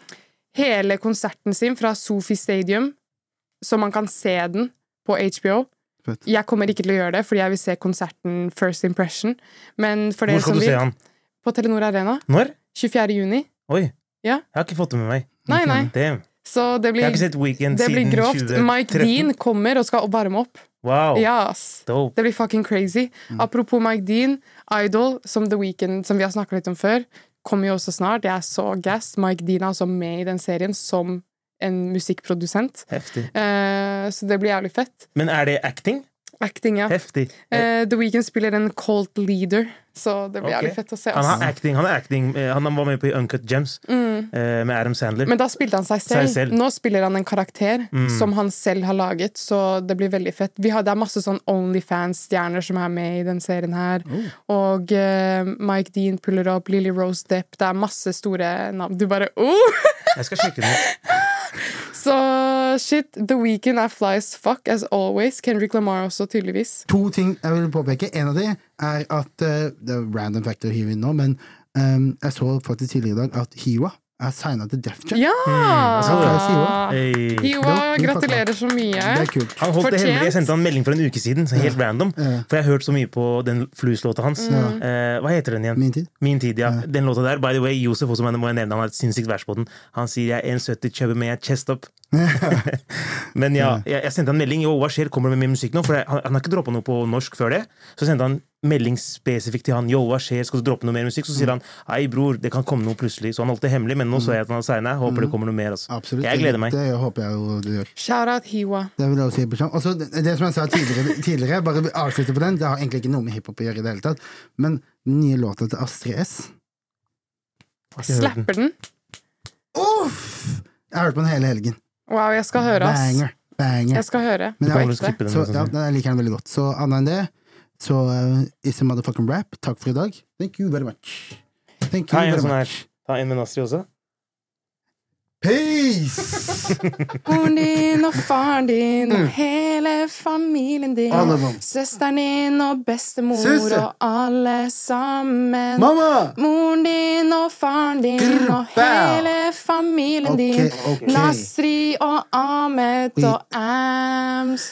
[SPEAKER 3] hele konserten sin fra Sophie Stadium, så man kan se den på HBO.
[SPEAKER 2] Fett.
[SPEAKER 3] Jeg kommer ikke til å gjøre det, fordi jeg vil se konserten First Impression. Men for
[SPEAKER 4] Hvor
[SPEAKER 3] dere som
[SPEAKER 4] skal du se
[SPEAKER 3] vil,
[SPEAKER 4] han?
[SPEAKER 3] på Telenor Arena
[SPEAKER 4] Når?
[SPEAKER 3] 24. juni.
[SPEAKER 4] Oi.
[SPEAKER 3] Ja.
[SPEAKER 4] Jeg har ikke fått det med meg.
[SPEAKER 3] Nei, nei.
[SPEAKER 4] Damn.
[SPEAKER 3] Så det
[SPEAKER 4] Jeg
[SPEAKER 3] blir,
[SPEAKER 4] har ikke sett Weekend
[SPEAKER 3] det blir
[SPEAKER 4] siden
[SPEAKER 3] grovt.
[SPEAKER 4] 2013.
[SPEAKER 3] Mike Dean kommer og skal varme opp.
[SPEAKER 4] Wow.
[SPEAKER 3] Ja, ass.
[SPEAKER 4] Dope.
[SPEAKER 3] Det blir fucking crazy.
[SPEAKER 4] Mm.
[SPEAKER 3] Apropos Mike Dean, Idol, som The Weeknd, som vi har snakket litt om før, kommer jo også snart. Jeg er så gassed. Mike Dean er altså med i den serien som en musikkprodusent.
[SPEAKER 4] Heftig.
[SPEAKER 3] Eh, så det blir jævlig fett.
[SPEAKER 4] Men er det acting?
[SPEAKER 3] Acting, ja.
[SPEAKER 4] Heftig.
[SPEAKER 3] Eh, The Weeknd spiller en cult leader, så det blir
[SPEAKER 4] Ok.
[SPEAKER 3] jævlig fett å se.
[SPEAKER 4] Han har
[SPEAKER 3] Ass. Mm.
[SPEAKER 4] acting. Han, er acting. eh, han var med på Uncut Gems eh, med Adam Sandler.
[SPEAKER 3] Men da spilte han seg selv.
[SPEAKER 4] Seg selv.
[SPEAKER 3] Nå spiller han en karakter som han selv har laget, så det blir veldig fett. Vi har, det er masse sånn Onlyfans-stjerner som er med i den serien her. Og eh, Mike Dean puller opp, Lily Rose Depp Det er masse store navn. Du bare oh!
[SPEAKER 4] Jeg skal sjekke den ut.
[SPEAKER 3] Så shit. The Weekend er fly as fuck, as always. Kendrick Lamar også, tydeligvis.
[SPEAKER 2] To ting jeg vil påpeke. En av de er at eh, Det er random factor å hive inn nå, men ehm, jeg så faktisk tidligere i dag at Hiwa er signa til Def Jam.
[SPEAKER 3] Ja!
[SPEAKER 4] så det.
[SPEAKER 3] Ah.
[SPEAKER 2] Hiwa.
[SPEAKER 4] Hey.
[SPEAKER 3] Hiwa,
[SPEAKER 2] Det var-
[SPEAKER 3] gratulerer så mye.
[SPEAKER 2] Det er kult.
[SPEAKER 4] Han holdt det
[SPEAKER 3] Fortjent.
[SPEAKER 4] hemmelig. Jeg sendte han en melding for en uke siden, så helt random. For jeg har hørt så mye på den fluslåta hans.
[SPEAKER 3] Mm.
[SPEAKER 4] Eh, hva heter den igjen?
[SPEAKER 2] Min tid.
[SPEAKER 4] Min tid, ja. Den låta der. By the way, Josef også, men må jeg nevne, han har et sinnssykt vers på den. Han sier 'jeg er 1,70 chubby, men jeg er chest up'. men ja, jeg, jeg sendte han melding. Jo, hva skjer, kommer du med mye musikk nå? For jeg, han, han har ikke droppa noe på norsk før det. Så sendte han melding spesifikt til han. Jo, hva skjer, skal du droppe noe mer musikk? Så sier han ei, bror, det kan komme noe plutselig. Så han holdt det hemmelig, men nå så jeg at han har signa. Håper det kommer noe mer. Altså.
[SPEAKER 2] Absolutt.
[SPEAKER 4] Jeg gleder meg.
[SPEAKER 2] Det, det håper jeg jo du gjør.
[SPEAKER 3] Shout-out Hiwa.
[SPEAKER 2] Det vil jeg også gi beskjed om. Også, det, det som jeg sa tidligere, tidligere bare avslutte på den, det har egentlig ikke noe med hiphop å gjøre i det hele tatt, men den nye låta til Astrid S
[SPEAKER 3] Slapper den?
[SPEAKER 2] Uff! Jeg har hørt på den hele helgen.
[SPEAKER 3] Wow, jeg skal høre, ass.
[SPEAKER 2] Banger. Banger.
[SPEAKER 3] Jeg skal høre.
[SPEAKER 2] Men
[SPEAKER 4] Du
[SPEAKER 2] jeg
[SPEAKER 4] kan
[SPEAKER 2] var
[SPEAKER 4] vel
[SPEAKER 2] ekte.
[SPEAKER 4] skippe den,
[SPEAKER 2] Så,
[SPEAKER 4] liksom.
[SPEAKER 2] ja, nei, jeg liker den veldig godt. Så annet enn det, så eh, it's a motherfucking rap. Takk for i dag. Thank you very much. Thank you
[SPEAKER 4] Ta en
[SPEAKER 2] very
[SPEAKER 4] sånn her.
[SPEAKER 2] much.
[SPEAKER 4] Ta en med Nasri også.
[SPEAKER 2] Peace!
[SPEAKER 3] Moren din og faren din og hele familien din.
[SPEAKER 2] Mm. Alle mann.
[SPEAKER 3] Søsteren din og bestemor
[SPEAKER 2] Søster.
[SPEAKER 3] og alle sammen.
[SPEAKER 2] Mamma!
[SPEAKER 3] Moren din og faren din
[SPEAKER 2] Grr,
[SPEAKER 3] og
[SPEAKER 2] bæ.
[SPEAKER 3] hele familien
[SPEAKER 2] Ok,
[SPEAKER 3] din.
[SPEAKER 2] ok.
[SPEAKER 3] Nasri og Ahmed
[SPEAKER 2] Vi-
[SPEAKER 3] og Ams.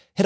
[SPEAKER 1] Hit